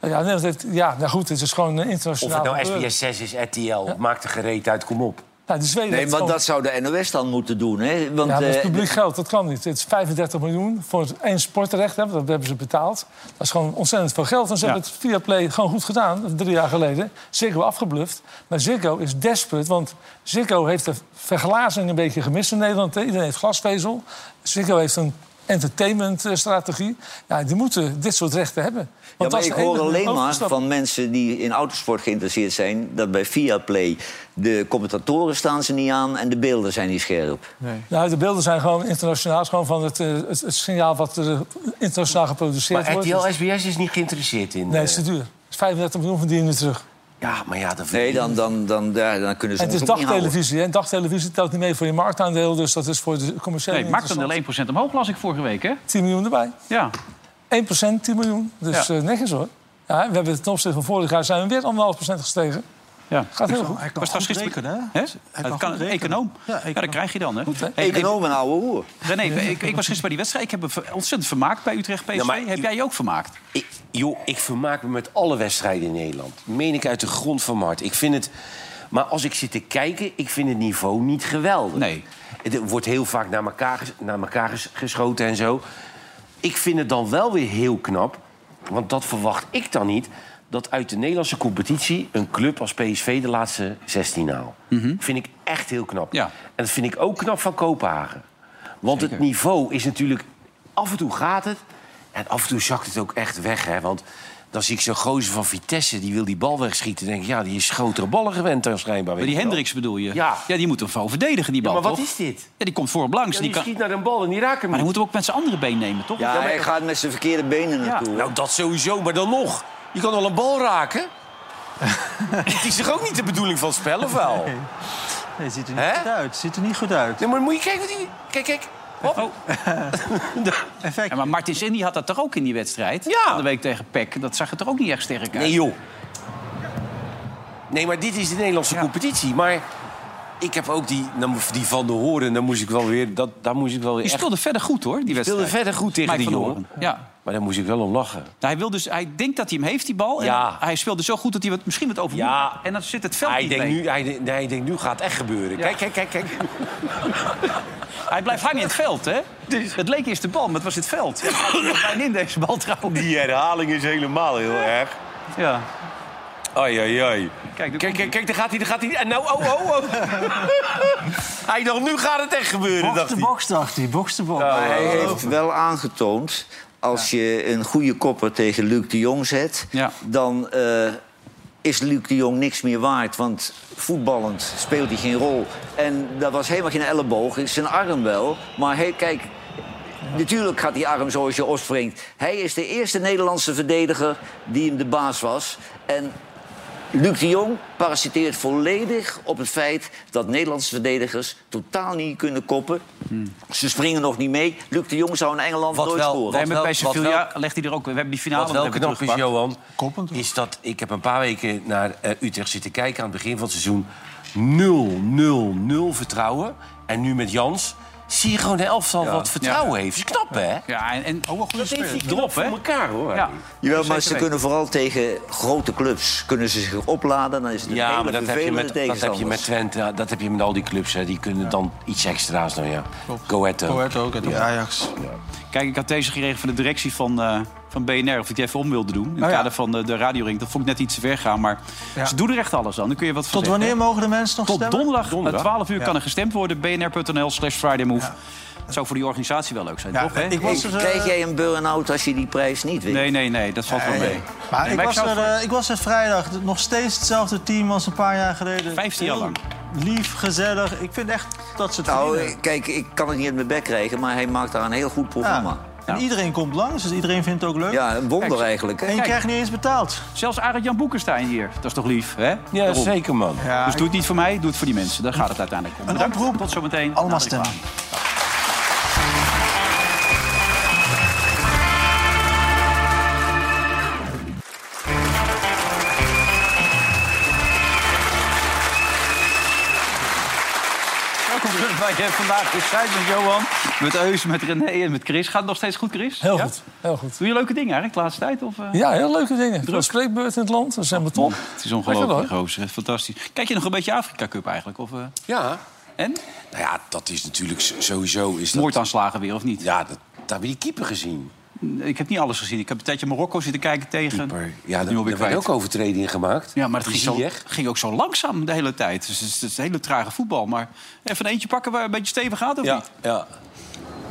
Speaker 2: Ja, nee, dat- ja, nou goed, het is gewoon eh,
Speaker 4: Of
Speaker 2: internationaal.
Speaker 4: het nou
Speaker 2: gebeuren.
Speaker 4: SBS 6 is, RTL, maakt er gereed uit, kom op.
Speaker 2: Nou, de Zweden
Speaker 5: Nee,
Speaker 2: heeft
Speaker 5: maar
Speaker 2: gewoon-
Speaker 5: dat zou de NOS dan moeten doen, hè? Want,
Speaker 2: ja, dat is
Speaker 5: eh,
Speaker 2: publiek geld, dat kan niet. Het is 35 miljoen voor het één sportrecht, hè, dat hebben ze betaald. Dat is gewoon ontzettend veel geld. En ze
Speaker 5: Ja.
Speaker 2: hebben het via Play gewoon goed gedaan, drie jaar geleden. Ziggo afgebluft. Maar Ziggo is desperate, want Ziggo heeft de verglazing een beetje gemist in Nederland. hè. Iedereen heeft glasvezel. Ziggo heeft een entertainmentstrategie. Ja, die moeten dit soort rechten hebben.
Speaker 5: Ja,
Speaker 2: Want dat
Speaker 5: maar
Speaker 2: is
Speaker 5: ik
Speaker 2: de
Speaker 5: hoor
Speaker 2: enige
Speaker 5: alleen maar
Speaker 2: overstap.
Speaker 5: van mensen die in autosport geïnteresseerd zijn... dat bij Viaplay de commentatoren staan ze niet aan en de beelden zijn niet scherp.
Speaker 2: Nou, de beelden zijn gewoon internationaal. Het is gewoon van het, eh, het, het signaal wat er internationaal geproduceerd
Speaker 4: Maar
Speaker 2: wordt. dus-
Speaker 4: RTL SBS is niet geïnteresseerd in...
Speaker 2: Nee,
Speaker 4: eh,
Speaker 2: het is te duur. Het is 35 miljoen verdienen we terug.
Speaker 4: Ja, maar ja, dat...
Speaker 5: Nee, dan, dan, dan, ja, dan kunnen ze
Speaker 2: En het is
Speaker 5: ons ook niet houden.
Speaker 2: dagtelevisie. hè. En dagtelevisie telt niet mee voor je marktaandeel. Dus dat is voor de commerciële
Speaker 1: Nee, marktaandeel 1% omhoog las ik vorige week, hè?
Speaker 2: 10 miljoen erbij.
Speaker 1: Ja.
Speaker 2: 1 10 miljoen. Dus
Speaker 1: Ja.
Speaker 2: eh, netjes hoor. Ja, we hebben ten opzichte van vorig jaar zijn we weer 1,5 gestegen.
Speaker 1: Ja.
Speaker 2: Gaat heel goed.
Speaker 1: Hij kan was
Speaker 3: goed rekenen,
Speaker 1: hè? Dat kan, econoom. Ja, dat krijg je dan, hè? Hey,
Speaker 5: Econoom en ouwe hoer.
Speaker 1: René, ik, ik was gisteren bij die wedstrijd. Ik heb me ver- ontzettend vermaakt bij Utrecht PSV.
Speaker 4: Ja, maar-
Speaker 1: Heb jij je ook vermaakt?
Speaker 4: Ik, joh, ik vermaak me met alle wedstrijden in Nederland. Meen ik uit de grond van mijn hart. Ik vind het... Maar als ik zit te kijken, ik vind het niveau niet geweldig. Nee. Het wordt heel vaak naar elkaar, ges- naar elkaar ges- geschoten en zo. Ik vind het dan wel weer heel knap, want dat verwacht ik dan niet... dat uit de Nederlandse competitie een club als PSV de laatste 16 haalt.
Speaker 1: Mhm.
Speaker 4: Vind ik echt heel knap. En dat vind ik ook knap van Kopenhagen. Want het niveau is natuurlijk... Af en toe gaat het, en af en toe zakt het ook echt weg, hè? Want dan zie ik zo'n gozer van Vitesse, die wil die bal wegschieten. Dan denk ik, ja, die is grotere ballen gewend dan schijnbaar.
Speaker 1: Maar
Speaker 4: weet
Speaker 1: die
Speaker 4: je wel.
Speaker 1: Hendricks bedoel je?
Speaker 4: Ja.
Speaker 1: die moet hem van verdedigen, die
Speaker 4: Ja,
Speaker 1: bal,
Speaker 4: maar wat
Speaker 1: toch?
Speaker 4: is dit?
Speaker 1: Ja, die komt voor op langs. die
Speaker 4: Ja, die
Speaker 1: kan...
Speaker 4: schiet naar een bal en die raken hem
Speaker 1: Maar dan
Speaker 4: niet.
Speaker 1: moeten we ook met zijn andere been nemen, toch?
Speaker 5: Ja, hij gaat met zijn verkeerde benen naartoe.
Speaker 4: Nou, dat sowieso, maar dan nog. Je kan wel een bal raken. het is toch ook niet de bedoeling van het spel, of wel?
Speaker 3: Nee, nee ziet er niet goed uit. Ziet er niet goed uit.
Speaker 4: Nee, maar moet je kijken wat die... Kijk, kijk. Hop.
Speaker 1: Ja, maar Martin Sinny had dat toch ook in die wedstrijd? Van de week tegen Peck. Dat zag het er ook niet echt sterk uit.
Speaker 4: Nee, joh. Nee, maar dit is de Nederlandse competitie. Maar ik heb ook die, nou, die Van der Horen, daar moest ik wel weer... Dat, daar moest ik wel weer
Speaker 1: Die
Speaker 4: echt-
Speaker 1: speelde verder goed, hoor, die,
Speaker 4: Die
Speaker 1: wedstrijd.
Speaker 4: speelde verder goed tegen
Speaker 1: Mike
Speaker 4: die
Speaker 1: van
Speaker 4: jongen.
Speaker 1: Horen. Ja.
Speaker 4: Maar daar moest ik wel om lachen.
Speaker 1: Nou, hij, wil dus, hij denkt dat hij hem heeft, die bal. En
Speaker 4: Ja.
Speaker 1: Hij speelde zo goed dat hij wat, misschien wat overmoed.
Speaker 4: Ja.
Speaker 1: En dan zit het veld
Speaker 4: Hij
Speaker 1: niet
Speaker 4: denkt,
Speaker 1: mee.
Speaker 4: nu, hij, de- nee, hij denkt, nu gaat het echt gebeuren. Kijk, kijk, kijk, kijk.
Speaker 1: Hij blijft hangen in het veld, hè? Het leek eerst de bal, maar het was het veld. Hij gaat bijna in deze bal trouwens.
Speaker 4: Die herhaling is helemaal heel erg.
Speaker 1: Ja.
Speaker 4: Ai, ai, ai.
Speaker 1: Kijk,
Speaker 4: kijk, kijk, daar gaat hij, daar gaat hij. En nou, oh, oh, oh. hij dacht, nu gaat het echt gebeuren,
Speaker 3: Box
Speaker 4: dacht
Speaker 3: de
Speaker 4: hij.
Speaker 3: box, dacht hij. Box de box.
Speaker 5: Maar hij heeft wel aangetoond... als je een goede kopper tegen Luc de Jong zet... dan eh, is Luc de Jong niks meer waard. Want voetballend speelt hij geen rol. En dat was helemaal geen elleboog. Zijn arm wel. Maar hey, kijk... Natuurlijk gaat die arm zoals je opspringt. Hij is de eerste Nederlandse verdediger die hem de baas was. En Luc de Jong parasiteert volledig op het feit dat Nederlandse verdedigers totaal niet kunnen koppen. Ze springen nog niet mee. Luc de Jong zou in
Speaker 4: Hmm.
Speaker 5: Engeland
Speaker 4: Wat
Speaker 5: nooit
Speaker 4: wel-
Speaker 1: Wij
Speaker 5: scoren.
Speaker 4: wat
Speaker 1: hebben bij
Speaker 4: wel- wat
Speaker 1: Sevilla legt hij er ook. We hebben die finale
Speaker 4: Wat wel
Speaker 1: nog even
Speaker 4: knap is,
Speaker 1: teruggepakt.
Speaker 4: Johan, is dat ik heb een paar weken naar eh, Utrecht zitten kijken aan het begin van het seizoen. 0, 0, 0 vertrouwen. En nu met Jans zie je gewoon de elftal wat vertrouwen heeft. Dat is knap, hè?
Speaker 1: Ja, en, en oh,
Speaker 4: Dat heeft hij
Speaker 1: Drop,
Speaker 4: knap voor
Speaker 1: hè?
Speaker 4: elkaar, hoor.
Speaker 1: Ja.
Speaker 5: Jawel,
Speaker 1: Zeker
Speaker 5: maar ze
Speaker 1: weten.
Speaker 5: kunnen vooral tegen grote clubs kunnen ze zich opladen. Dan is het een
Speaker 4: Ja,
Speaker 5: hele
Speaker 4: maar dat heb, je met, dat
Speaker 5: vervelende
Speaker 4: heb je
Speaker 5: tegenstander.
Speaker 4: met Twente, ja, dat heb je met al die clubs. Hè. Die kunnen dan iets extra's doen, ja. Go Ahead ook.
Speaker 3: ook, uit Ajax.
Speaker 1: Kijk, ik had deze gekregen van de directie van, eh, van BNR... of ik die even om wilde doen. In het
Speaker 3: Oh ja.
Speaker 1: kader van de, de radioring. Dat vond ik net iets te ver gaan. Maar
Speaker 3: Ja.
Speaker 1: ze doen er echt alles aan. Dan kun je wat van
Speaker 3: Tot
Speaker 1: zeggen.
Speaker 3: wanneer mogen de mensen nog
Speaker 1: Tot
Speaker 3: stemmen?
Speaker 1: donderdag,
Speaker 3: Donderdag?
Speaker 1: 12 uur
Speaker 3: Ja.
Speaker 1: kan er gestemd worden. bnr.nl slash Friday Move. Het zou voor die organisatie wel leuk zijn, toch? Hè?
Speaker 3: ik was dus, eh,
Speaker 5: Krijg jij een burn-out als je die prijs niet wint?
Speaker 1: Nee, nee, nee, dat valt wel mee.
Speaker 3: Maar
Speaker 1: Nee,
Speaker 3: ik,
Speaker 1: maar ik
Speaker 3: was
Speaker 1: zou
Speaker 3: er, eh, ik was er vrijdag nog steeds hetzelfde team als een paar jaar geleden.
Speaker 1: 15 jaar
Speaker 3: Heel
Speaker 1: lang.
Speaker 3: Lief, gezellig. Ik vind echt dat ze het
Speaker 5: Nou,
Speaker 3: verdienen.
Speaker 5: eh, kijk, ik kan het niet uit mijn bek krijgen, maar hij maakt daar een heel goed programma.
Speaker 3: En iedereen komt langs, dus iedereen vindt het ook leuk.
Speaker 5: Ja, een wonder
Speaker 1: Kijk,
Speaker 5: eigenlijk. hè?
Speaker 3: En je krijgt niet eens betaald.
Speaker 1: Zelfs Arend Jan Boekenstein hier. Dat is toch lief, hè?
Speaker 4: Ja,
Speaker 1: Daarom.
Speaker 4: zeker, man.
Speaker 1: dus doe het niet voor mij, doe het voor die mensen. Daar gaat het uiteindelijk om.
Speaker 3: Een
Speaker 1: Bedankt.
Speaker 3: oproep.
Speaker 1: Tot zometeen.
Speaker 3: Allemaal
Speaker 1: Na de reclame.
Speaker 3: stemmen.
Speaker 1: Welkom terug bij je hebt vandaag gezeid met Johan, met Eus, met René en met Chris. Gaat het nog steeds goed, Chris?
Speaker 2: Heel
Speaker 1: Ja?
Speaker 2: goed, heel goed.
Speaker 1: Doe je leuke dingen eigenlijk de laatste tijd? Of, eh?
Speaker 2: Ja, heel leuke dingen.
Speaker 1: Druk.
Speaker 2: Druk. Spreekbeurt in het land, dat is helemaal top.
Speaker 1: Het is ongelooflijk, Roos. Fantastisch. Kijk je nog een beetje Afrika Cup eigenlijk? Of, eh?
Speaker 4: Ja.
Speaker 1: En?
Speaker 4: Nou ja, dat is natuurlijk s- sowieso... Is dat...
Speaker 1: Moordaanslagen weer, of niet?
Speaker 4: Ja, dat, daar hebben we die keeper gezien.
Speaker 1: Ik heb niet alles gezien. Ik heb een tijdje Marokko zitten kijken tegen.
Speaker 4: Ja,
Speaker 1: Nu
Speaker 4: daar
Speaker 1: ben ik
Speaker 4: daar werden
Speaker 1: kwijt.
Speaker 4: ook overtredingen gemaakt.
Speaker 1: Ja, maar het ging, zo,
Speaker 4: Ziyech.
Speaker 1: ging ook zo langzaam de hele tijd. Dus het is, het is hele trage voetbal. Maar even eentje pakken waar een beetje stevig gaat, of
Speaker 4: Ja,
Speaker 1: niet?
Speaker 4: ja.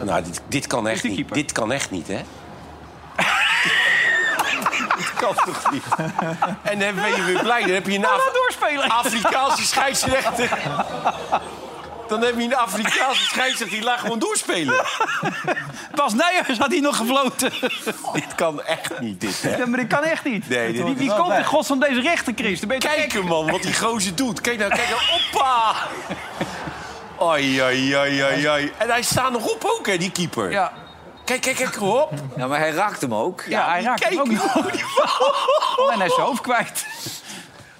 Speaker 4: Nou, dit, dit kan echt
Speaker 1: de
Speaker 4: niet.
Speaker 1: keeper.
Speaker 4: Dit kan echt niet, hè?
Speaker 1: Dat kan toch niet?
Speaker 4: En dan ben je weer blij. Dan heb je een
Speaker 1: Laat doorspelen.
Speaker 4: Ah. Afrikaanse scheidsrechter. Dan heb je een Afrikaanse scheidsrechter die laat gewoon doorspelen.
Speaker 1: Pas Nijers had hij nog gefloten.
Speaker 4: dit kan echt niet, dit, hè?
Speaker 1: Ja, maar dat kan echt niet.
Speaker 4: Nee, dit-
Speaker 1: Wie, wie komt in godsnaam deze rechter, Chris? Dan ben je toch
Speaker 4: Kijk
Speaker 1: gek?
Speaker 4: hem, man, wat die gozer doet. Kijk nou, kijk nou. Oppa! Ai, ai, ai, ai, ai. En hij staat nog op ook, hè, die keeper.
Speaker 1: Ja.
Speaker 4: Kijk, kijk, kijk, hop.
Speaker 5: Ja, maar hij raakt hem ook.
Speaker 1: Ja, hij raakt hem ook niet. en hij is zijn hoofd kwijt.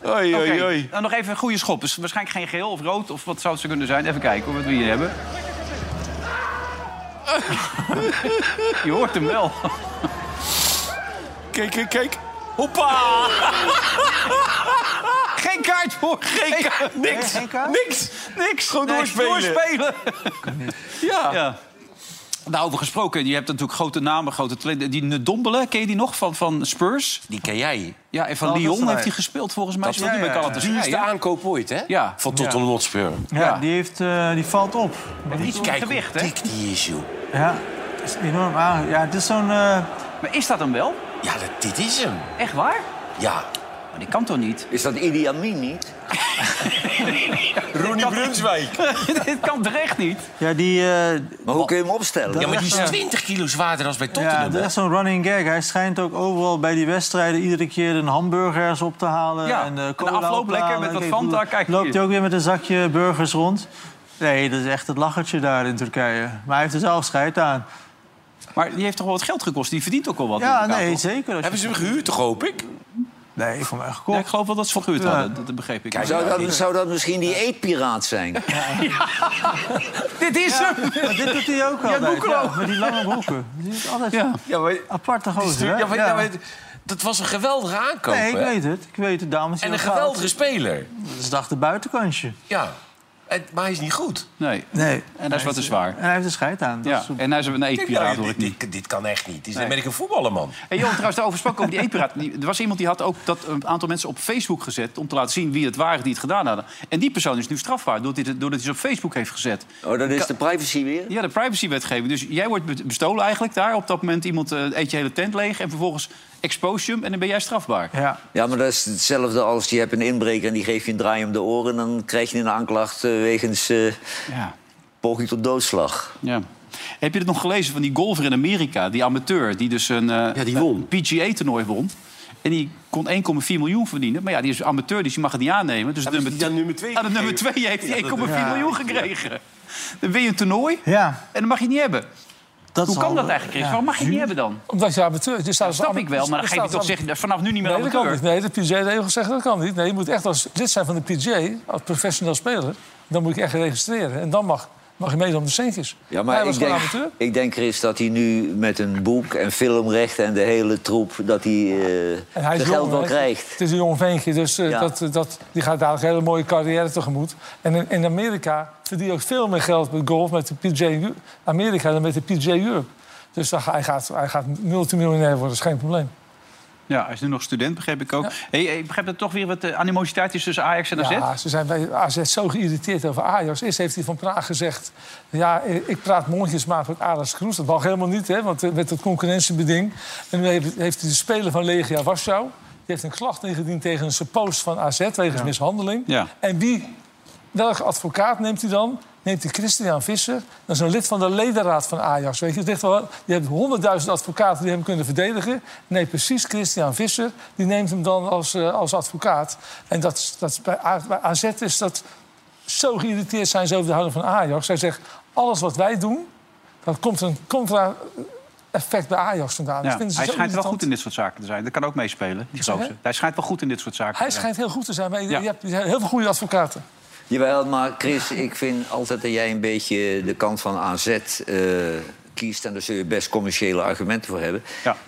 Speaker 4: Oei,
Speaker 1: Oké,
Speaker 4: oei, oei.
Speaker 1: dan nog even een goede schop. Dus waarschijnlijk geen geel of rood of wat zou het zo kunnen zijn. Even kijken hoor, wat we hier hebben. Je hoort hem wel.
Speaker 4: Kijk, kijk, kijk. Hoppa!
Speaker 1: Geen kaart voor. Geen kaart.
Speaker 4: Niks, niks,
Speaker 1: niks.
Speaker 4: Gewoon
Speaker 1: Nee,
Speaker 4: doorspelen.
Speaker 1: doorspelen.
Speaker 4: Ja.
Speaker 1: Ja. Daarover gesproken, je hebt natuurlijk grote namen, grote talenten. Die Nedombele, ken je die nog van, van Spurs?
Speaker 4: Die ken jij.
Speaker 1: Ja, en van
Speaker 3: Nou, dat is
Speaker 1: Lyon
Speaker 3: hij.
Speaker 1: heeft hij gespeeld volgens mij.
Speaker 4: Dat
Speaker 1: Speelt
Speaker 4: is
Speaker 1: hij bij
Speaker 4: de
Speaker 1: Galatasaray,
Speaker 4: duurste
Speaker 1: hè?
Speaker 4: aankoop ooit, hè?
Speaker 1: Ja.
Speaker 4: Van Tottenham Hotspur.
Speaker 3: Ja,
Speaker 1: Ja.
Speaker 3: Die, heeft, eh, die valt op.
Speaker 1: Iets
Speaker 4: Kijk hoe
Speaker 1: gewicht, hè?
Speaker 4: dik die is, joh.
Speaker 3: Ja, dat is enorm aan. Ja, het is zo'n... eh,
Speaker 1: Maar is dat hem wel?
Speaker 4: Ja, dat, dit is hem.
Speaker 1: Echt waar?
Speaker 4: Ja.
Speaker 1: Maar die kan toch niet?
Speaker 5: Is dat Idi Amin niet?
Speaker 4: Ronnie Brunswijk.
Speaker 1: Dit kan toch echt niet?
Speaker 3: ja, die, eh,
Speaker 5: Maar hoe kun je hem opstellen?
Speaker 4: Ja, maar die is 20 kilo zwaarder dan bij
Speaker 3: ja,
Speaker 4: Tottenham.
Speaker 3: dat is echt zo'n running gag. Hij schijnt ook overal bij die wedstrijden iedere keer een hamburgers op te halen.
Speaker 1: Ja,
Speaker 3: en, eh,
Speaker 1: en de
Speaker 3: cola
Speaker 1: afloop
Speaker 3: op te
Speaker 1: lekker
Speaker 3: halen.
Speaker 1: met wat
Speaker 3: Kijk,
Speaker 1: Fanta,
Speaker 3: lo-
Speaker 1: kijk
Speaker 3: Loopt
Speaker 1: hier.
Speaker 3: hij ook weer met een zakje burgers rond? Nee, dat is echt het lachertje daar in Turkije. Maar hij heeft er zelf scheid aan.
Speaker 1: Maar die heeft toch wel wat geld gekost? Die verdient ook wel wat.
Speaker 3: Ja,
Speaker 1: inderdaad,
Speaker 3: nee,
Speaker 1: toch?
Speaker 3: zeker. Als
Speaker 4: Hebben
Speaker 3: je...
Speaker 4: ze hem gehuurd, toch hoop ik?
Speaker 3: Nee, ik vond hem echt
Speaker 1: Ja,
Speaker 3: gekocht.
Speaker 1: ik geloof wel dat ze verhuurd
Speaker 3: Ja.
Speaker 1: hadden. Dat dat begreep ik.
Speaker 5: Zou dat, zou dat misschien die eetpiraat zijn? Oh,
Speaker 1: Dit is hem!
Speaker 3: Maar dit doet hij ook altijd.
Speaker 1: Boekelo.
Speaker 3: Ja, met die lange broeken. Die is altijd
Speaker 1: Ja.
Speaker 4: Ja, maar...
Speaker 3: aparte gozer. hè?
Speaker 4: Ja, maar,
Speaker 3: Ja.
Speaker 4: ja, maar dat was een geweldige aankoop,
Speaker 3: Nee, ik
Speaker 4: hè?
Speaker 3: weet het. Ik weet het, dames.
Speaker 4: En een geweldige speler.
Speaker 3: Ze dachten buitenkantje.
Speaker 4: Ja. En- maar hij is niet goed.
Speaker 1: Nee.
Speaker 3: Nee.
Speaker 1: En dat is wat te zwaar.
Speaker 3: En hij heeft er scheid aan. Dat
Speaker 1: Ja,
Speaker 3: is-
Speaker 1: en hij is een eetpiraat, hoor ik
Speaker 4: dit,
Speaker 1: niet.
Speaker 4: dit, dit kan echt niet. Dit is een American voetballer, man.
Speaker 1: En Johan, trouwens, daarover sprak over die eetpiraat. Die- Er was iemand die had ook dat eh, een aantal mensen op Facebook gezet... om te laten zien wie het waren die het gedaan hadden. En die persoon is nu strafbaar doordat hij, doordat hij ze op Facebook heeft gezet.
Speaker 5: Oh, dat is de privacy weer?
Speaker 1: Ja, de privacywetgeving. Dus jij wordt be- bestolen eigenlijk daar. Op dat moment iemand eh, eet je hele tent leeg... en vervolgens expose je hem en dan ben jij strafbaar.
Speaker 3: Ja.
Speaker 5: Ja, maar dat is hetzelfde als je hebt een inbreker en die geeft je een draai om de oren... en dan krijg je een aanklacht eh, wegens eh,
Speaker 1: Ja.
Speaker 5: poging tot doodslag.
Speaker 1: Ja. Heb je het nog gelezen van die golfer in Amerika, die amateur, die dus een eh,
Speaker 4: Ja, die won.
Speaker 1: PGA-toernooi won? En die kon 1,4 miljoen verdienen. Maar ja, die is amateur, dus die mag het niet aannemen. Dus
Speaker 4: Hebben ze die aan nummer twee
Speaker 1: aan de nummer
Speaker 4: gegeven?
Speaker 1: 2 heeft hij 1,4
Speaker 3: ja.
Speaker 1: miljoen gekregen. Dan win je een toernooi
Speaker 3: ja,
Speaker 1: en dan mag je het niet hebben.
Speaker 3: dat
Speaker 1: Hoe
Speaker 3: is
Speaker 1: kan
Speaker 3: al-
Speaker 1: dat eigenlijk, Chris?
Speaker 3: ja.
Speaker 1: Waarom mag je het niet hebben dan?
Speaker 2: Omdat je amateur... Je staat
Speaker 1: Dat
Speaker 2: als
Speaker 1: snap
Speaker 2: am-
Speaker 1: ik wel, maar dan geef je
Speaker 2: staat
Speaker 1: toch
Speaker 2: als-
Speaker 1: zeggen... vanaf nu niet meer
Speaker 2: Nee, Nou, dat kan
Speaker 1: amateur.
Speaker 2: niet. Nee, de PJ-regels zeggen dat kan niet. Nee, je moet echt als lid zijn van de PJ, als professioneel speler... dan moet je echt registreren. En dan mag, mag je meedoen om de centjes.
Speaker 5: Ja,
Speaker 2: Hij
Speaker 5: maar
Speaker 2: was
Speaker 5: ik
Speaker 2: gewoon
Speaker 5: denk,
Speaker 2: amateur.
Speaker 5: ik denk, Chris, dat hij nu met een boek en filmrechten... en de hele troep, dat hij eh
Speaker 2: En hij is
Speaker 5: de
Speaker 2: jong,
Speaker 5: geld wel
Speaker 2: hè.
Speaker 5: krijgt.
Speaker 2: Het is een jong ventje, dus eh,
Speaker 5: Ja.
Speaker 2: dat, dat, die gaat dadelijk een hele mooie carrière tegemoet. En in, in Amerika verdien je ook veel meer geld met golf met de PJ Eu- Amerika dan met de PJ Europe. Dus dan, ga- hij, gaat, hij gaat multimiljonair worden, dat is geen probleem.
Speaker 1: Ja, hij is nu nog student, begreep ik ook. Hey, hey, ik begrijp dat er toch weer wat eh, animositeit is tussen Ajax en AZ?
Speaker 2: Ja, ze zijn bij AZ zo geïrriteerd over Ajax. Eerst heeft hij van Praag gezegd... ja, eh, ik praat mondjesmaat met Aras Kroes. Dat mag helemaal niet, hè, want eh, met dat concurrentiebeding. En nu heeft, heeft hij de speler van Legia Warschau... die heeft een klacht ingediend tegen een suppost van AZ... wegens mishandeling.
Speaker 1: Ja.
Speaker 2: En wie, welke advocaat neemt hij dan? Neemt hij Christian Visser? Dat is een lid van de ledenraad van Ajax. Weet je, het ligt wel, je hebt honderdduizend advocaten die hem kunnen verdedigen. Nee, precies Christian Visser. Die neemt hem dan als, eh, als advocaat. En dat, is- dat is bij, A- bij AZ is dat zo geïrriteerd zijn ze over de houding van Ajax. Hij zegt, alles wat wij doen, dat komt een contra-effect bij Ajax vandaan.
Speaker 1: Ja,
Speaker 2: Dat vinden ze
Speaker 1: hij
Speaker 2: zo
Speaker 1: schijnt wel
Speaker 2: irritant.
Speaker 1: goed in dit soort zaken te zijn. Dat kan ook meespelen, die
Speaker 2: zeg
Speaker 1: gozer.
Speaker 2: je?
Speaker 1: Hij schijnt wel goed in dit soort zaken
Speaker 2: Hij
Speaker 1: te zijn.
Speaker 2: schijnt heel goed te zijn. Maar je,
Speaker 1: Ja.
Speaker 2: je hebt je hebt heel veel goede advocaten.
Speaker 5: Jawel, maar Chris, ik vind altijd dat jij een beetje de kant van AZ eh, kiest. En daar zul je best commerciële argumenten voor hebben.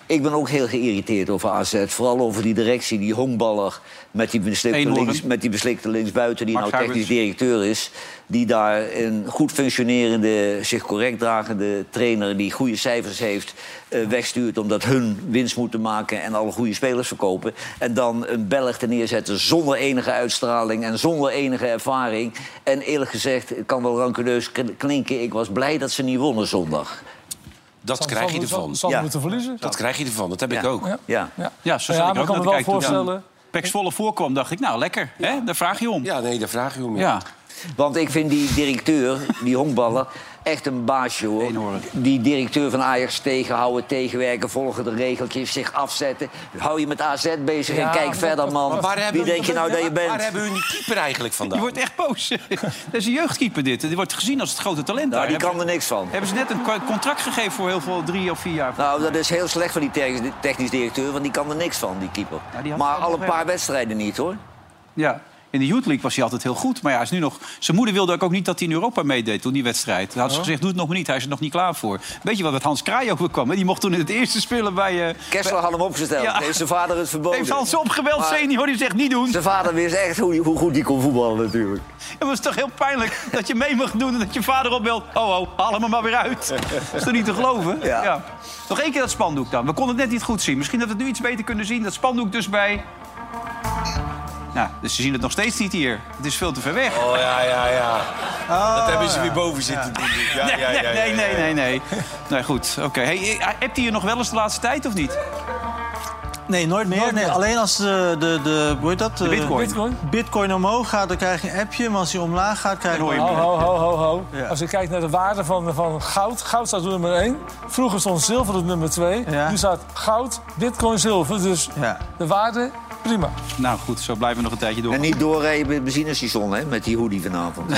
Speaker 5: Ik ben ook heel geïrriteerd over AZ. Vooral over die directie, die honkballer met die beslikte,
Speaker 1: Eenhoorn.
Speaker 5: links, met die beslikte linksbuiten... die
Speaker 1: Max
Speaker 5: nou technisch
Speaker 1: Huibers.
Speaker 5: directeur is. Die daar een goed functionerende, zich correct dragende trainer... die goede cijfers heeft, eh, wegstuurt omdat hun winst moeten maken... en alle goede spelers verkopen. En dan een Belg er neerzetten zonder enige uitstraling... en zonder enige ervaring. En eerlijk gezegd, het kan wel rancuneus kl- klinken... ik was blij dat ze niet wonnen zondag.
Speaker 4: Dat
Speaker 5: Zal-
Speaker 4: krijg je
Speaker 5: zal-
Speaker 4: ervan.
Speaker 5: zal- zal
Speaker 4: Ja.
Speaker 5: moeten
Speaker 2: verliezen?
Speaker 4: Dat krijg je ervan, dat heb ik
Speaker 5: Ja.
Speaker 4: ook.
Speaker 5: Ja.
Speaker 1: Ja, zo
Speaker 4: Ja,
Speaker 1: zat
Speaker 4: maar
Speaker 1: ik ook
Speaker 4: ik kan
Speaker 1: naar
Speaker 4: me
Speaker 1: te
Speaker 4: wel
Speaker 1: kijken toen
Speaker 4: voorstellen-
Speaker 1: Pek Zwolle voorkwam, dacht ik, nou, lekker. Hè? Daar vraag je om.
Speaker 4: Ja, nee, daar vraag je om.
Speaker 1: Ja.
Speaker 5: Want ik vind die directeur, die honkballer, echt een baasje hoor. Die directeur van Ajax tegenhouden, tegenwerken, volgen de regeltjes, zich afzetten. Hou je met AZ bezig en
Speaker 4: Ja,
Speaker 5: kijk verder, man.
Speaker 4: Maar waar hebben
Speaker 5: Wie denk je nou dat je bent?
Speaker 4: Waar hebben hun die keeper eigenlijk
Speaker 1: Die
Speaker 4: vandaan?
Speaker 1: wordt echt boos. dat is een jeugdkeeper dit. Die wordt gezien als het grote talent. daar.
Speaker 5: Nou, die
Speaker 1: Hebben-
Speaker 5: kan er niks van.
Speaker 1: Hebben ze net een ko- contract gegeven voor heel veel drie of vier jaar?
Speaker 5: Nou, dat is heel slecht voor die te- technisch directeur, want die kan er niks van, die keeper.
Speaker 1: die had
Speaker 5: maar
Speaker 1: wel
Speaker 5: al een
Speaker 1: nog
Speaker 5: paar wedstrijden niet hoor.
Speaker 1: Ja. In de Youth League was hij altijd heel goed. Maar ja, hij is nu nog... Zijn moeder wilde ook niet dat hij in Europa meedeed toen die wedstrijd. Toen had ze
Speaker 5: Oh.
Speaker 1: gezegd, doe het nog maar niet. Hij is er nog niet klaar voor. Weet je wat met Hans Kraai ook weer kwam? hè? Die mocht toen in het eerste spelen bij... eh
Speaker 5: Kessler had hem opgesteld.
Speaker 1: Ja.
Speaker 5: Heeft zijn vader het verboden.
Speaker 1: Heeft Hans opgebeld,
Speaker 5: Oh, Maar
Speaker 1: senior, die zegt niet doen.
Speaker 5: Zijn vader wist echt hoe, hoe goed hij kon voetballen natuurlijk.
Speaker 1: Het was toch heel pijnlijk dat je mee mag doen en dat je vader opbelt. Oh, oh, haal hem er maar weer uit. Dat is toch niet te geloven? Ja. Nog één keer dat spandoek dan. We konden het net niet goed zien. Misschien dat we het nu iets beter kunnen zien. Dat spandoek dus bij... Nou, dus ze zien het nog steeds niet hier. Het is veel te ver weg. Ah.
Speaker 4: Oh ja, ja, ja. dat hebben ze
Speaker 1: ja.
Speaker 4: weer boven zitten doen. Ja,
Speaker 1: nee,
Speaker 4: ja, ja, ja,
Speaker 1: nee,
Speaker 4: ja,
Speaker 1: nee,
Speaker 4: ja.
Speaker 1: nee, nee. Nee, goed. Oké. Hey, eh, appt hij je nog wel eens de laatste tijd of niet?
Speaker 3: Nee, nooit meer. nee, Alleen als de, de, de, hoe heet dat?
Speaker 1: De bitcoin.
Speaker 3: bitcoin. Bitcoin omhoog gaat, dan krijg je een appje. Maar als die omlaag gaat, krijg je
Speaker 2: Ho,
Speaker 3: een
Speaker 2: ho, ho, ho, ho. Als je kijkt naar de waarde van, van goud, goud staat op nummer 1. Vroeger stond zilver op nummer 2. Nu staat goud, bitcoin, zilver. Dus de waarde, prima.
Speaker 1: Nou goed, zo blijven we nog een tijdje door.
Speaker 5: En niet doorrijden bij het benzinestation hè, met die hoodie vanavond.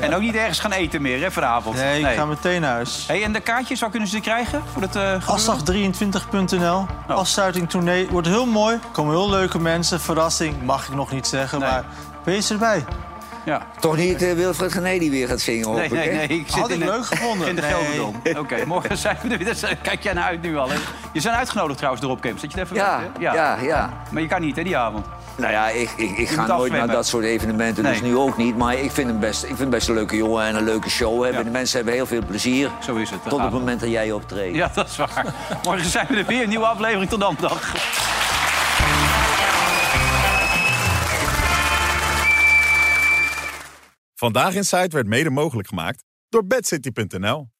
Speaker 1: En ook niet ergens gaan eten meer, hè, vanavond.
Speaker 3: Nee, ik ga meteen naar huis.
Speaker 1: Hey, en de kaartjes, waar kunnen ze die krijgen? Voor het, eh,
Speaker 3: Afslag23.nl. Afsluiting tournee. Wordt heel mooi. Komen heel leuke mensen. Verrassing mag ik nog niet zeggen, maar wees erbij.
Speaker 1: Ja.
Speaker 5: Toch niet eh, Wilfred Gené die weer gaat zingen, hoop
Speaker 1: Nee,
Speaker 5: ik,
Speaker 1: nee,
Speaker 5: hè?
Speaker 1: nee. Ik zit
Speaker 3: Had
Speaker 1: in
Speaker 3: ik
Speaker 1: de-
Speaker 3: leuk gevonden.
Speaker 1: In de
Speaker 3: Nee.
Speaker 1: Gelderdom. Oké, morgen zijn we er weer. Dus, eh, Kijk jij naar uit nu al. Hè? Je zijn uitgenodigd trouwens door Opcamps. Dat je het even
Speaker 5: Ja,
Speaker 1: weet, hè?
Speaker 5: ja, ja.
Speaker 1: Maar je kan niet, hè, die avond.
Speaker 5: Nou ja, ik, ik, ik
Speaker 1: Je
Speaker 5: ga
Speaker 1: moet
Speaker 5: nooit
Speaker 1: afzwemmen.
Speaker 5: naar dat soort evenementen, dus
Speaker 1: Nee.
Speaker 5: nu ook niet. Maar ik vind hem best, ik vind hem best een leuke jongen en een leuke show hebben. De mensen hebben heel veel plezier.
Speaker 1: Zo is het. Ah.
Speaker 5: Tot op het moment dat jij optreedt.
Speaker 1: Ja, dat is waar. morgen zijn we er weer. Een nieuwe aflevering. Tot dan. Dag.
Speaker 13: Vandaag in Zuid werd mede mogelijk gemaakt door bedcity.nl.